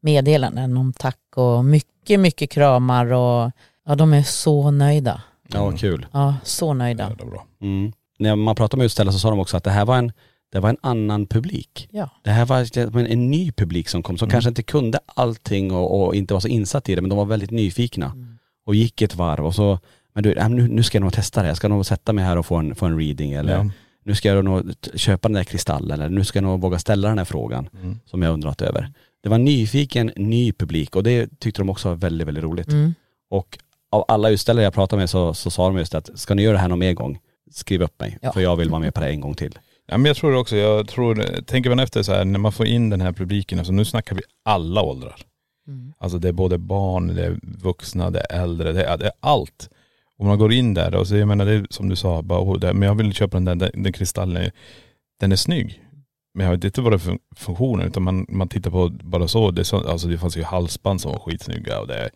[SPEAKER 6] meddelanden om tack och mycket, mycket kramar och ja, de är så nöjda.
[SPEAKER 4] Ja, kul.
[SPEAKER 6] Ja, så nöjda.
[SPEAKER 5] Jävla bra.
[SPEAKER 4] Mm. När man pratade med utställare så sa de också att det här var en, det var en annan publik.
[SPEAKER 6] Ja.
[SPEAKER 4] Det här var en, en ny publik som kom som kanske inte kunde allting och, och inte var så insatt i det men de var väldigt nyfikna och gick ett varv och så, men du, äh, men nu, nu ska jag nog testa det, jag ska nog sätta mig här och få en, få en reading eller
[SPEAKER 5] Ja.
[SPEAKER 4] nu ska jag nog t- köpa den där kristallen eller nu ska jag nog våga ställa den här frågan
[SPEAKER 5] Mm.
[SPEAKER 4] som jag undrat över. Det var en nyfiken, ny publik och det tyckte de också var väldigt, väldigt roligt.
[SPEAKER 6] Mm.
[SPEAKER 4] Och av alla utställare jag pratade med så, så sa de just att ska ni göra det här någon mer gång, skriv upp mig
[SPEAKER 6] Ja.
[SPEAKER 4] för jag vill vara med på det en gång till.
[SPEAKER 5] Ja, men jag tror det också, jag tror, tänker man efter så här, när man får in den här publiken, alltså nu snackar vi alla åldrar.
[SPEAKER 6] Mm.
[SPEAKER 5] Alltså det är både barn, det är vuxna, det är äldre, det är, det är allt. Och man går in där och så, jag menar det är som du sa, bara, oh, det, men jag vill köpa den där den, den kristallen, den är snygg. Men jag vet inte vad det är för funktioner, utan man, man tittar på bara så, det, är så, alltså det fanns ju halsband som var skitsnygga och det är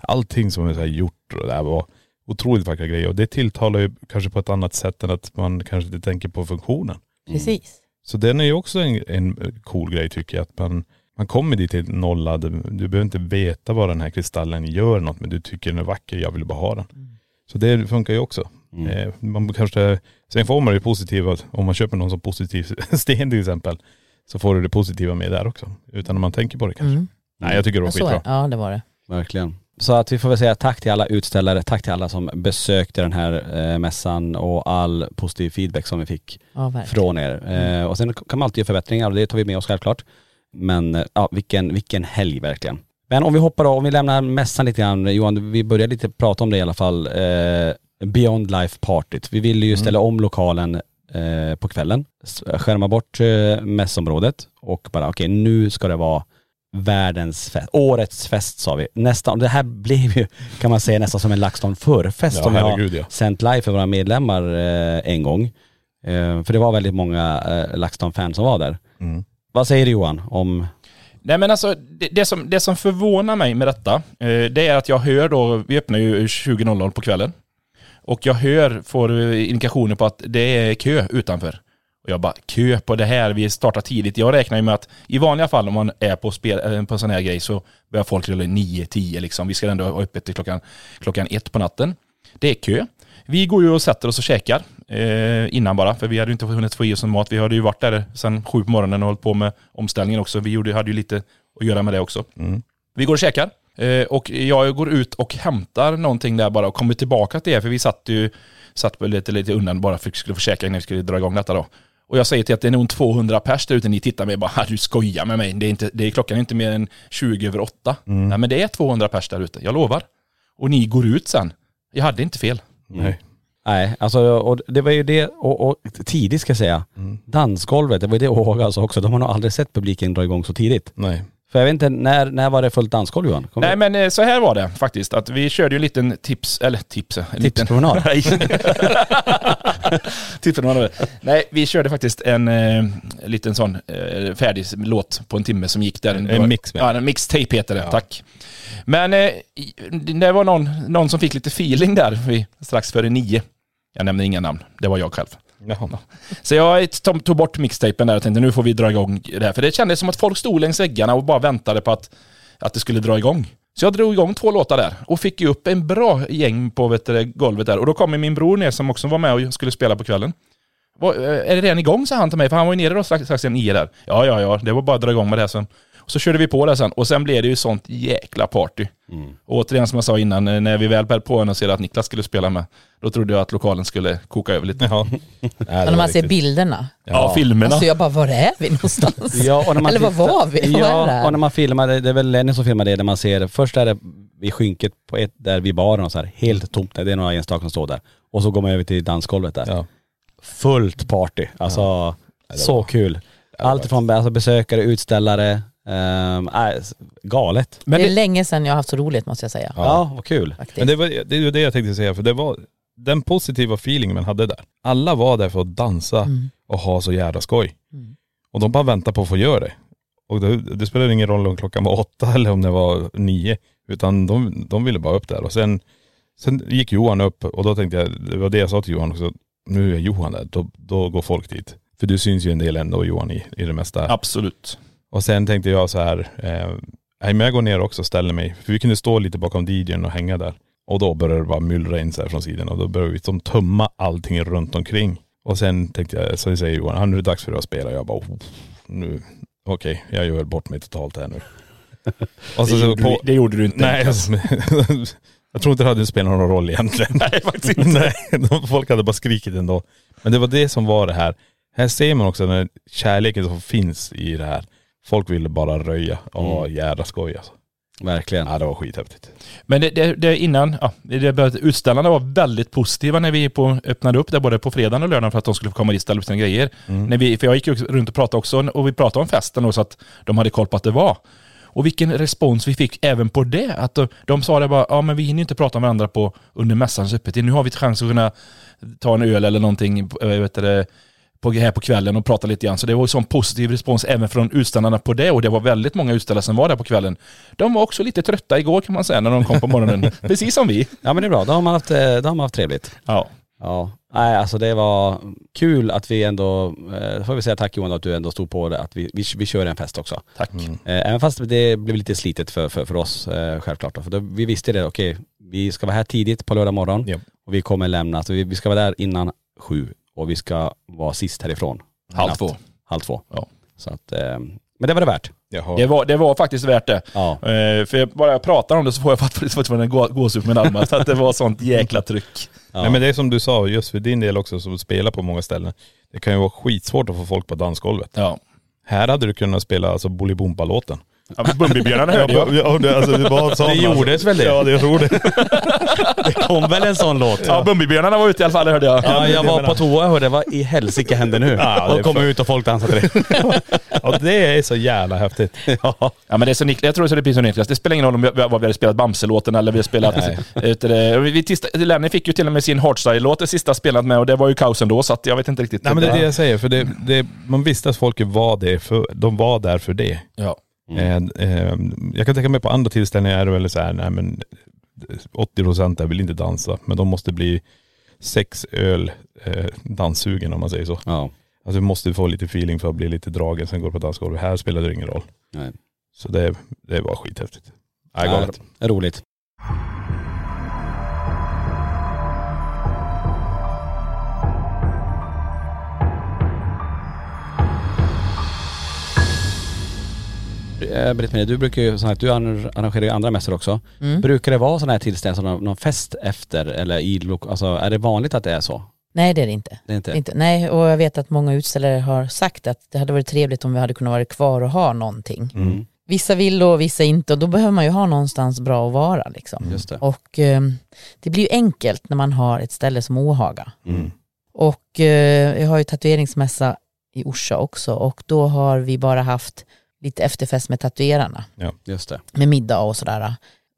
[SPEAKER 5] allting som är så här gjort och det här var otroligt vackra grejer. Och det tilltalar ju kanske på ett annat sätt än att man kanske inte tänker på funktionen.
[SPEAKER 6] Precis.
[SPEAKER 5] Så den är ju också en, en cool grej tycker jag. Att man, man kommer dit helt nollad. Du behöver inte veta vad den här kristallen gör något men du tycker den är vacker, jag vill bara ha den.
[SPEAKER 6] Mm.
[SPEAKER 5] Så det funkar ju också.
[SPEAKER 4] Mm.
[SPEAKER 5] Eh, Man kanske, sen får man det positiva, om man köper någon som positiv sten till exempel, så får du det positiva med där också. Utan om man tänker på det kanske.
[SPEAKER 6] Mm.
[SPEAKER 5] Nej jag tycker det var
[SPEAKER 6] Ja, så är
[SPEAKER 5] skitbra.
[SPEAKER 6] det. Ja, det var det.
[SPEAKER 4] Verkligen. Så att vi får väl säga tack till alla utställare, tack till alla som besökte den här eh, mässan och all positiv feedback som vi fick
[SPEAKER 6] Ja, verkligen.
[SPEAKER 4] från er. Eh, och sen kan man alltid göra förbättringar och det tar vi med oss självklart. Men eh, ja, vilken, vilken helg verkligen. Men om vi hoppar då, om vi lämnar mässan lite grann, Johan, vi började lite prata om det i alla fall. Eh, Beyond Life Partyt. Vi ville
[SPEAKER 5] Mm.
[SPEAKER 4] ju ställa om lokalen eh, på kvällen, s- skärma bort eh, mässområdet och bara okej nu ska det vara världens fest, årets fest sa vi. Nästan, det här blev ju kan man säga nästan som en LaxTon förfest
[SPEAKER 5] Ja,
[SPEAKER 4] som jag
[SPEAKER 5] herregud, ja.
[SPEAKER 4] sänt live för våra medlemmar eh, en gång. Eh, för det var väldigt många eh, LaxTon-fans som var där.
[SPEAKER 5] Mm.
[SPEAKER 4] Vad säger du Johan om,
[SPEAKER 7] Nej men alltså, det, det, som, det som förvånar mig med detta, eh, det är att jag hör då, vi öppnar ju 20.00 på kvällen. Och jag hör, får eh, indikationer på att det är kö utanför. Och jag bara, kö på det här, vi startar tidigt. Jag räknar ju med att i vanliga fall om man är på, spel, eh, på en sån här grej så börjar folk rulla 9-10 liksom. Vi ska ändå ha öppet till klockan, klockan ett på natten. Det är kö. Vi går ju och sätter oss och käkar eh, innan bara, för vi hade ju inte hunnit få i oss någon mat. Vi hade ju varit där sedan sju på morgonen och hållit på med omställningen också. Vi gjorde, hade ju lite att göra med det också.
[SPEAKER 5] Mm.
[SPEAKER 7] Vi går och käkar. Eh, och jag går ut och hämtar någonting där bara och kommer tillbaka till er, för vi satt ju satt väl lite, lite undan bara för att vi skulle få käka innan vi skulle dra igång detta då. Och jag säger till att det är nog 200 pers där ute, ni tittar mig bara, "Ha, du skojar med mig, det är inte, det är, klockan är inte mer än 20 över 8. Nej men det är 200 pers där ute, jag lovar. Och ni går ut sen. Jag hade inte fel.
[SPEAKER 4] Mm.
[SPEAKER 5] Nej.
[SPEAKER 4] Nej, alltså och det var ju det, och, och tidigt ska jag säga, dansgolvet, det var ju det Åhag alltså också, de har nog aldrig sett publiken dra igång så tidigt.
[SPEAKER 5] Nej.
[SPEAKER 4] För jag vet inte, när, när var det fullt dansgolv Johan? Kommer
[SPEAKER 7] Nej men eh, så här var det faktiskt, att vi körde ju en liten tips, eller tips, en liten...
[SPEAKER 4] Tipspromenad.
[SPEAKER 7] Nej. Tipspromenad. Nej, vi körde faktiskt en eh, liten sån eh, färdig låt på en timme som gick där.
[SPEAKER 5] En
[SPEAKER 7] Det var-
[SPEAKER 5] mix med.
[SPEAKER 7] Ja, en mixtape heter det, tack. Men eh, i- det var någon, någon som fick lite feeling där vid, strax före nio. Jag nämner inga namn, det var jag själv.
[SPEAKER 5] Jaha.
[SPEAKER 7] Så jag to- tog bort mixtapen där och tänkte nu får vi dra igång det här. För det kändes som att folk stod längs väggarna och bara väntade på att, att det skulle dra igång. Så jag drog igång två låtar där och fick ju upp en bra gäng på vet du, golvet där. Och då kom ju min bror ner som också var med och skulle spela på kvällen. "Vad, eh, Är det redan igång? sa han till mig, för han var ju nere då strax, strax innan nio där. Ja, ja, ja, det var bara att dra igång med det här sen. Och så körde vi på det sen och sen blev det ju sånt jäkla party. Och återigen som jag sa innan, eh, när vi väl bär på och ser att Niklas skulle spela med, då trodde jag att lokalen skulle koka över lite.
[SPEAKER 5] Jaha. Nej, det
[SPEAKER 6] Men
[SPEAKER 5] var
[SPEAKER 6] när man ser
[SPEAKER 5] riktigt.
[SPEAKER 6] bilderna.
[SPEAKER 7] Ja, filmerna.
[SPEAKER 6] Alltså jag bara, var är vi någonstans?
[SPEAKER 4] Ja, och när man
[SPEAKER 6] Eller vad
[SPEAKER 4] tittar-
[SPEAKER 6] var vi? Vad
[SPEAKER 4] Ja,
[SPEAKER 6] är det här?
[SPEAKER 4] och när man filmar, det det är väl Lenny som filmar det, där man ser, först är det vid skynket på ett, där vid baren och så här, helt tomt, det är några enstaka som står där. Och så går man över till dansgolvet där.
[SPEAKER 5] Ja.
[SPEAKER 4] Fullt party, alltså så kul. Allt från alltså, besökare, utställare, ehm, äh, s- galet.
[SPEAKER 7] Men
[SPEAKER 6] det
[SPEAKER 7] det-
[SPEAKER 6] är länge sedan jag har haft så roligt måste jag säga.
[SPEAKER 4] Ja, vad kul.
[SPEAKER 6] Faktiskt.
[SPEAKER 5] Men det var det, är ju det jag tänkte säga, för det var den positiva feelingen man hade där. Alla var där för att dansa och ha så jävla skoj. Och de bara väntade på att få göra det. Och det, det spelade ingen roll om klockan var åtta eller om det var nio, utan de, de ville bara upp där. Och sen, sen gick Johan upp och då tänkte jag, det var det jag sa till Johan också, nu är Johan där, då, då går folk dit. För du syns ju en del ändå Johan i, i det mesta.
[SPEAKER 7] Absolut.
[SPEAKER 5] Och sen tänkte jag så här, eh, nej, men jag går ner också och ställer mig. För vi kunde stå lite bakom DJn och hänga där. Och då började det bara myllra in så här från sidan och då började vi som tömma allting runt omkring. Och sen tänkte jag, så säger Johan, "Ah, nu är det dags för dig att spela. Jag bara, oh, nu, okej, jag gör bort mig totalt här nu. och så, så på,
[SPEAKER 7] det gjorde du inte.
[SPEAKER 5] nej, alltså, jag tror inte det hade spelat någon roll egentligen. Nej, faktiskt inte. nej, folk hade bara skrikit ändå. Men det var det som var det här. Här ser man också den här kärleken som finns i det här. Folk ville bara röja. Åh
[SPEAKER 7] Mm.
[SPEAKER 5] jävla skoj alltså.
[SPEAKER 4] Verkligen.
[SPEAKER 5] Ja det var skithäftigt.
[SPEAKER 7] Men det, det, det innan, ja, det- det började, utställarna var väldigt positiva när vi på, öppnade upp där både på fredagen och lördagen för att de skulle få komma dit och ställa upp sina grejer. När vi, för jag gick ju runt och pratade också och vi pratade om festen och så att de hade koll på att det var. Och vilken respons vi fick även på det. Att de, de sa det bara, ja men vi hinner ju inte prata med varandra på, under mässans öppettid. Nu har vi chans att kunna ta en öl eller någonting eh, vet du, det, på, här på kvällen och prata lite grann. Så det var ju sån positiv respons även från utställarna på det. Och det var väldigt många utställare som var där på kvällen. De var också lite trötta igår kan man säga när de kom på morgonen. Precis som vi.
[SPEAKER 4] Ja men det är bra, då har man haft, eh, då har man haft trevligt.
[SPEAKER 7] Ja.
[SPEAKER 4] Ja, nej alltså det var kul att vi ändå, eh, får vi säga tack Johan att du ändå stod på det, att vi, vi, vi kör en fest också.
[SPEAKER 7] Tack.
[SPEAKER 4] Eh, Även fast det blev lite slitet för, för, för oss eh, självklart då, för då, vi visste det, okej vi ska vara här tidigt på lördag morgon
[SPEAKER 5] Ja.
[SPEAKER 4] och vi kommer lämna, så vi, vi ska vara där innan sju och vi ska vara sist härifrån.
[SPEAKER 7] Halv
[SPEAKER 4] Natt.
[SPEAKER 7] två.
[SPEAKER 4] Halv två.
[SPEAKER 7] Ja.
[SPEAKER 4] Så att, eh, men det var det värt.
[SPEAKER 5] Jaha.
[SPEAKER 7] Det var, det var faktiskt värt det.
[SPEAKER 4] Ja.
[SPEAKER 7] Eh, för jag, bara jag pratar om det så får jag fatt- fortfarande en gå- gåshud på mina armar. Så att det var sånt jäkla tryck.
[SPEAKER 5] Nej men det är som du sa, just för din del också som spelar på många ställen. Det kan ju vara skitsvårt att få folk på dansgolvet.
[SPEAKER 7] Ja.
[SPEAKER 5] Här hade du kunnat spela alltså Bolibompa-låten.
[SPEAKER 7] ja men Bumbibjörnarna hörde jag.
[SPEAKER 5] ja, det, alltså, det, var det gjordes väl det? Ja det gjorde det.
[SPEAKER 4] Kom väl en sån låt?
[SPEAKER 7] Ja, Bumbibjörnarna var ute i alla fall hörde jag.
[SPEAKER 4] Ja, jag var på toa och hörde, vad i helsike händer nu?
[SPEAKER 5] Ja, det är
[SPEAKER 4] och kom
[SPEAKER 5] fan-
[SPEAKER 4] ut och folk dansade till det.
[SPEAKER 5] Ja det är så jävla häftigt.
[SPEAKER 4] ja.
[SPEAKER 7] Ja men det är så Niklas, jag tror det är precis som Niklas, det spelar ingen roll om vi, vad vi hade spelat Bamse-låten eller vi hade spelat... eh, Vet du det, vi, vi tista, Lenny fick ju till och med sin Hardstyle-låt det sista spelat med och det var ju kaos ändå så att jag vet inte riktigt.
[SPEAKER 5] Nej men det är det jag säger, för det, det, man visste att folk var, det för, de var där för det.
[SPEAKER 7] Ja.
[SPEAKER 5] Eh, eh, jag kan tänka mig på andra tillställningar är det väl så här, nej men 80 procent vill inte dansa, men de måste bli sex öl eh, danssugen om man säger så.
[SPEAKER 4] ja.
[SPEAKER 5] Alltså du måste få lite feeling för att bli lite dragen, sen går du på dansgolvet. Här spelar det ingen roll.
[SPEAKER 4] Nej.
[SPEAKER 5] Så det, det var skithäftigt. Nej,
[SPEAKER 4] Ja,
[SPEAKER 5] galet.
[SPEAKER 4] roligt. Eh, Britt-Marie, du brukar ju, som sagt, du arr- arrangerar ju andra mässor också.
[SPEAKER 6] Mm.
[SPEAKER 4] Brukar det vara sådana här tillställningar, som någon- någon fest efter eller i, lo- alltså är det vanligt att det är så?
[SPEAKER 6] Nej det är det inte.
[SPEAKER 4] Det är inte.
[SPEAKER 6] inte. Nej, och jag vet att många utställare har sagt att det hade varit trevligt om vi hade kunnat vara kvar och ha någonting.
[SPEAKER 4] Mm.
[SPEAKER 6] Vissa vill och vissa inte och då behöver man ju ha någonstans bra att vara liksom.
[SPEAKER 4] Just det.
[SPEAKER 6] Och eh, det blir ju enkelt när man har ett ställe som Åhaga.
[SPEAKER 4] Mm.
[SPEAKER 6] Och eh, jag har ju tatueringsmässa i Orsa också och då har vi bara haft lite efterfest med tatuerarna,
[SPEAKER 4] Just det.
[SPEAKER 6] med middag och sådär.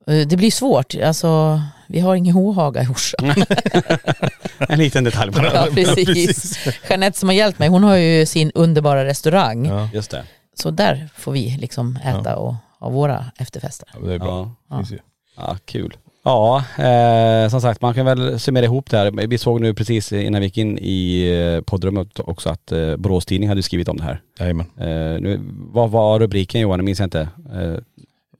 [SPEAKER 6] Eh, Det blir svårt, alltså vi har ingen Håhaga i Orsa.
[SPEAKER 4] En liten detalj bara.
[SPEAKER 6] Ja, precis. Jeanette som har hjälpt mig, hon har ju sin underbara restaurang.
[SPEAKER 5] Ja,
[SPEAKER 4] Just det.
[SPEAKER 6] Så där får vi liksom äta och ha våra efterfester.
[SPEAKER 5] ja, det är bra.
[SPEAKER 4] Ja.
[SPEAKER 6] Ja.
[SPEAKER 5] Finns ju.
[SPEAKER 4] Ja, kul. Ja, eh, som sagt man kan väl summera ihop det här. Vi såg nu precis innan vi gick in i eh, poddrummet också att eh, Borås Tidning hade skrivit om det här.
[SPEAKER 5] Jajamän.
[SPEAKER 4] Eh, nu, vad var rubriken Johan? Jag minns inte.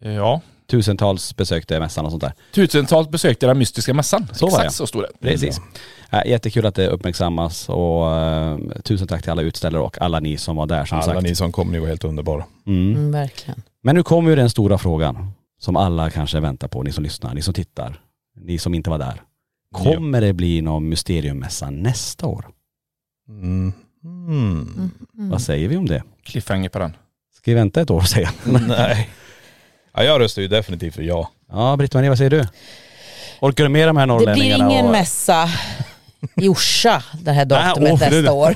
[SPEAKER 4] Eh,
[SPEAKER 7] Ja.
[SPEAKER 4] tusentals besökte mässan och sånt där.
[SPEAKER 7] Tusentals besökte den mystiska mässan.
[SPEAKER 4] Så var
[SPEAKER 7] Exakt
[SPEAKER 4] det.
[SPEAKER 7] så stod det.
[SPEAKER 4] Precis. Eh, jättekul att det uppmärksammas och eh, tusen tack till alla utställare och alla ni som var där som
[SPEAKER 5] Alla
[SPEAKER 4] sagt.
[SPEAKER 5] ni som kom, ni var helt underbara.
[SPEAKER 4] Mm.
[SPEAKER 6] Mm, verkligen.
[SPEAKER 4] Men nu kommer ju den stora frågan som alla kanske väntar på, ni som lyssnar, ni som tittar, ni som inte var där. Kommer det bli någon mysteriummässa nästa år?
[SPEAKER 5] Mm. Mm.
[SPEAKER 6] Mm. Mm.
[SPEAKER 4] Vad säger vi om det?
[SPEAKER 7] Cliffhanger på den.
[SPEAKER 4] Ska vi vänta ett år och säga?
[SPEAKER 5] Nej. Ja, jag röstar ju definitivt för ja.
[SPEAKER 4] Ja, Britt-Marie, vad säger du? Orkar du med de här
[SPEAKER 6] Det blir
[SPEAKER 4] norrlänningarna?
[SPEAKER 6] ingen
[SPEAKER 4] och-
[SPEAKER 6] mässa i Orsa det
[SPEAKER 4] Nej,
[SPEAKER 6] här datumet
[SPEAKER 4] åh, för
[SPEAKER 6] nästa
[SPEAKER 4] det-
[SPEAKER 6] år.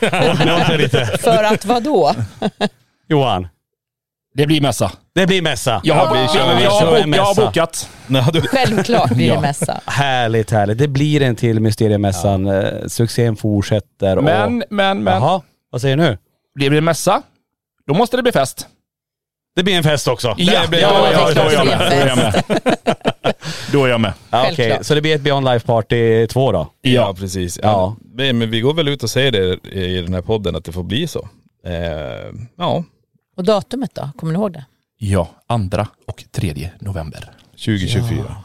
[SPEAKER 6] För att vad då?
[SPEAKER 4] Johan,
[SPEAKER 7] Det blir mässa.
[SPEAKER 4] det blir mässa.
[SPEAKER 7] Jag har,
[SPEAKER 5] vi kör
[SPEAKER 7] jag,
[SPEAKER 4] en
[SPEAKER 7] jag,
[SPEAKER 4] mässa.
[SPEAKER 7] har, bok- jag
[SPEAKER 4] Mässa.
[SPEAKER 7] har bokat.
[SPEAKER 5] Nej, du...
[SPEAKER 6] Självklart blir det mässa.
[SPEAKER 4] Härligt, härligt. Det blir en till Mysteriemässan. Ja. Succén fortsätter. och-
[SPEAKER 7] Men, men, men.
[SPEAKER 4] Jaha, vad säger du nu?
[SPEAKER 7] Det blir mässa. Då måste det bli fest.
[SPEAKER 4] Det blir en fest också.
[SPEAKER 7] Ja,
[SPEAKER 5] blir-
[SPEAKER 7] ja,
[SPEAKER 5] ja,
[SPEAKER 7] ja,
[SPEAKER 5] det
[SPEAKER 7] då är jag
[SPEAKER 6] blir
[SPEAKER 7] med. Då är jag med. Då är jag med.
[SPEAKER 4] Ja, Okej,
[SPEAKER 6] Självklart.
[SPEAKER 4] så det blir ett Beyond Life Party 2 då?
[SPEAKER 5] Ja, precis.
[SPEAKER 4] Ja.
[SPEAKER 5] Ja. Men men vi går väl ut och säger det i den här podden att det får bli så. Eh, ja,
[SPEAKER 6] Och datumet då? Kommer ni ihåg det?
[SPEAKER 7] Ja, andra och tredje november.
[SPEAKER 5] 2024.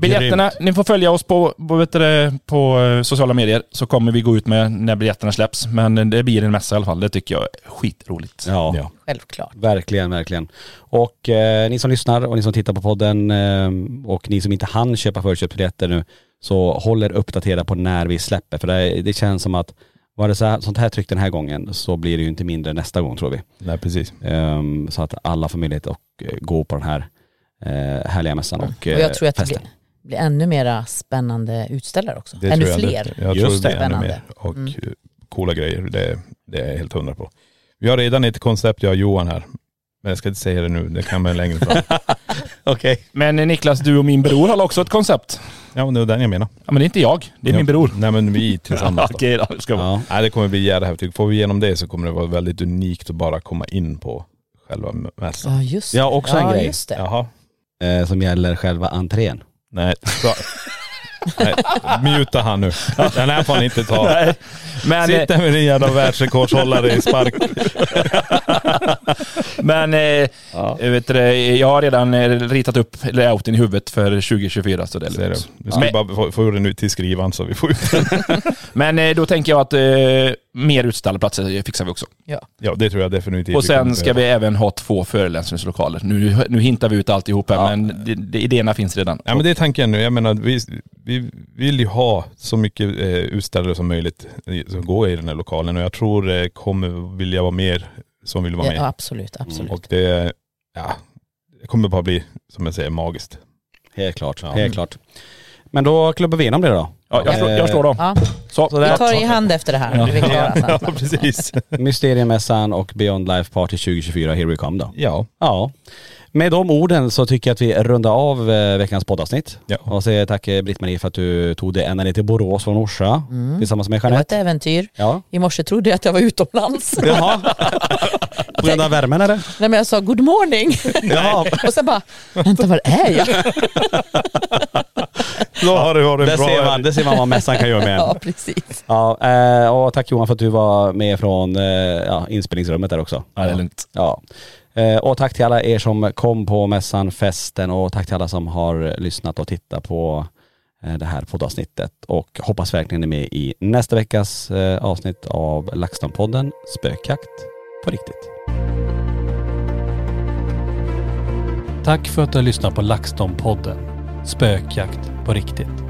[SPEAKER 7] Biljetterna, ni får följa oss på, på, vet du det, på eh, sociala medier så kommer vi gå ut med när biljetterna släpps. Men det blir en mässa i alla fall. Det tycker jag är skitroligt.
[SPEAKER 4] Ja.
[SPEAKER 5] Ja.
[SPEAKER 6] Självklart.
[SPEAKER 4] Verkligen, verkligen. Och eh, ni som lyssnar och ni som tittar på podden eh, och ni som inte hann köpa förköpsbiljetter nu, så håll er uppdaterade på när vi släpper. För det, det känns som att var det så här, sånt här tryck den här gången så blir det ju inte mindre nästa gång tror vi.
[SPEAKER 5] Nej, precis.
[SPEAKER 4] Ehm, så att alla får möjlighet att eh, gå på den här eh, härliga mässan och,
[SPEAKER 6] Och
[SPEAKER 4] eh,
[SPEAKER 6] jag tror att det
[SPEAKER 4] festen.
[SPEAKER 6] blir, blir ännu mera spännande utställare också. ännu
[SPEAKER 5] tror jag
[SPEAKER 6] fler.
[SPEAKER 5] inte. Jag tror
[SPEAKER 4] Just
[SPEAKER 5] det blir
[SPEAKER 6] det.
[SPEAKER 5] ännu mer.
[SPEAKER 6] Spännande.
[SPEAKER 5] Och
[SPEAKER 6] Mm.
[SPEAKER 5] eh, coola grejer, det, det är jag helt hundra på. Vi har redan ett koncept, jag och Johan här. Men jag ska inte säga det nu, det kan man längre fram.
[SPEAKER 4] Okej.
[SPEAKER 7] Men eh, Niklas, du och min bror har också ett koncept.
[SPEAKER 5] ja, men det var den jag menar.
[SPEAKER 7] Ja, men det är inte jag, det är min bror.
[SPEAKER 5] Nej, men vi tillsammans då.
[SPEAKER 7] Okej då, det ska vara.
[SPEAKER 4] Ja.
[SPEAKER 5] Nej, det kommer bli jävla häftigt. Får vi igenom det så kommer det vara väldigt unikt att bara komma in på själva mässan.
[SPEAKER 6] Ja just det.
[SPEAKER 4] Ja, också en
[SPEAKER 6] ja,
[SPEAKER 4] grej.
[SPEAKER 6] Just det.
[SPEAKER 5] Jaha.
[SPEAKER 4] Eh, som gäller själva entrén.
[SPEAKER 5] Nej, så. Nej, muta han nu. Den här får han inte ta.
[SPEAKER 7] Nej. Men, eh,
[SPEAKER 5] Sitter med din jävla världsrekordshållare i spark.
[SPEAKER 7] men eh, jag vet du det, jag har redan eh, ritat upp layouten i huvudet för 2024 så det är
[SPEAKER 5] Ser du?
[SPEAKER 7] lugnt.
[SPEAKER 5] Nu ska vi
[SPEAKER 7] Men-
[SPEAKER 5] bara få, få ur den ut till skrivan så vi får ut den.
[SPEAKER 7] Men eh, då tänker jag att eh, mer utställarplatser fixar vi också.
[SPEAKER 5] Ja, det tror jag definitivt.
[SPEAKER 7] Och
[SPEAKER 5] vi kommer
[SPEAKER 7] sen ska
[SPEAKER 5] behöva.
[SPEAKER 7] vi även ha två föreläsningslokaler. Nu, nu hintar vi ut alltihop här, men det, det, idéerna finns redan.
[SPEAKER 5] Ja men det är tanken nu. Jag menar vi, vi vill ju ha så mycket eh, utställare som möjligt eh, som går i den här lokalen och jag tror det kommer vilja vara mer som vill vara med. Mm,
[SPEAKER 6] Ja, absolut, absolut.
[SPEAKER 5] Och det, ja, det kommer bara bli som jag säger magiskt.
[SPEAKER 4] Helt klart. Helt klart. Men då klubbar vi igenom det då.
[SPEAKER 7] Ja, jag, slår, jag slår dem.
[SPEAKER 6] Ja,
[SPEAKER 7] Så,
[SPEAKER 4] Så
[SPEAKER 6] vi
[SPEAKER 4] där.
[SPEAKER 6] tar i hand efter det här. Vi är klara sen.
[SPEAKER 5] precis.
[SPEAKER 4] Mysteriemässan och Beyond Life Party 2024, here we come då.
[SPEAKER 5] ja.
[SPEAKER 4] Ja. Med de orden så tycker jag att vi rundar av eh, veckans poddavsnitt.
[SPEAKER 5] Ja.
[SPEAKER 4] Och säger tack eh, Britt-Marie för att du tog dig ända ner till Borås från Orsa tillsammans med
[SPEAKER 6] Mm. Det var ett
[SPEAKER 4] Jeanette.
[SPEAKER 6] äventyr.
[SPEAKER 4] Ja.
[SPEAKER 6] I morse trodde jag att jag var utomlands.
[SPEAKER 4] Jaha. På grund av värmen eller?
[SPEAKER 6] Nej men jag sa good morning.
[SPEAKER 4] Jaha.
[SPEAKER 6] Och sen bara, vänta var är jag?
[SPEAKER 5] Då har du, har du
[SPEAKER 4] Där
[SPEAKER 5] en
[SPEAKER 4] ser
[SPEAKER 5] bra...
[SPEAKER 4] man, där ser man vad mässan kan göra med en.
[SPEAKER 6] Ja precis.
[SPEAKER 4] Ja, eh, och tack Johan för att du var med från eh, ja, inspelningsrummet där också.
[SPEAKER 7] Ja, det är lugnt.
[SPEAKER 4] Ja. Eh, Och tack till alla er som kom på mässan, festen och tack till alla som har lyssnat och tittat på eh, det här poddavsnittet. Och hoppas verkligen ni är med i nästa veckas eh, avsnitt av LaxTon-podden Spökjakt på riktigt.
[SPEAKER 1] Tack för att du har lyssnat på LaxTon-podden Spökjakt på riktigt.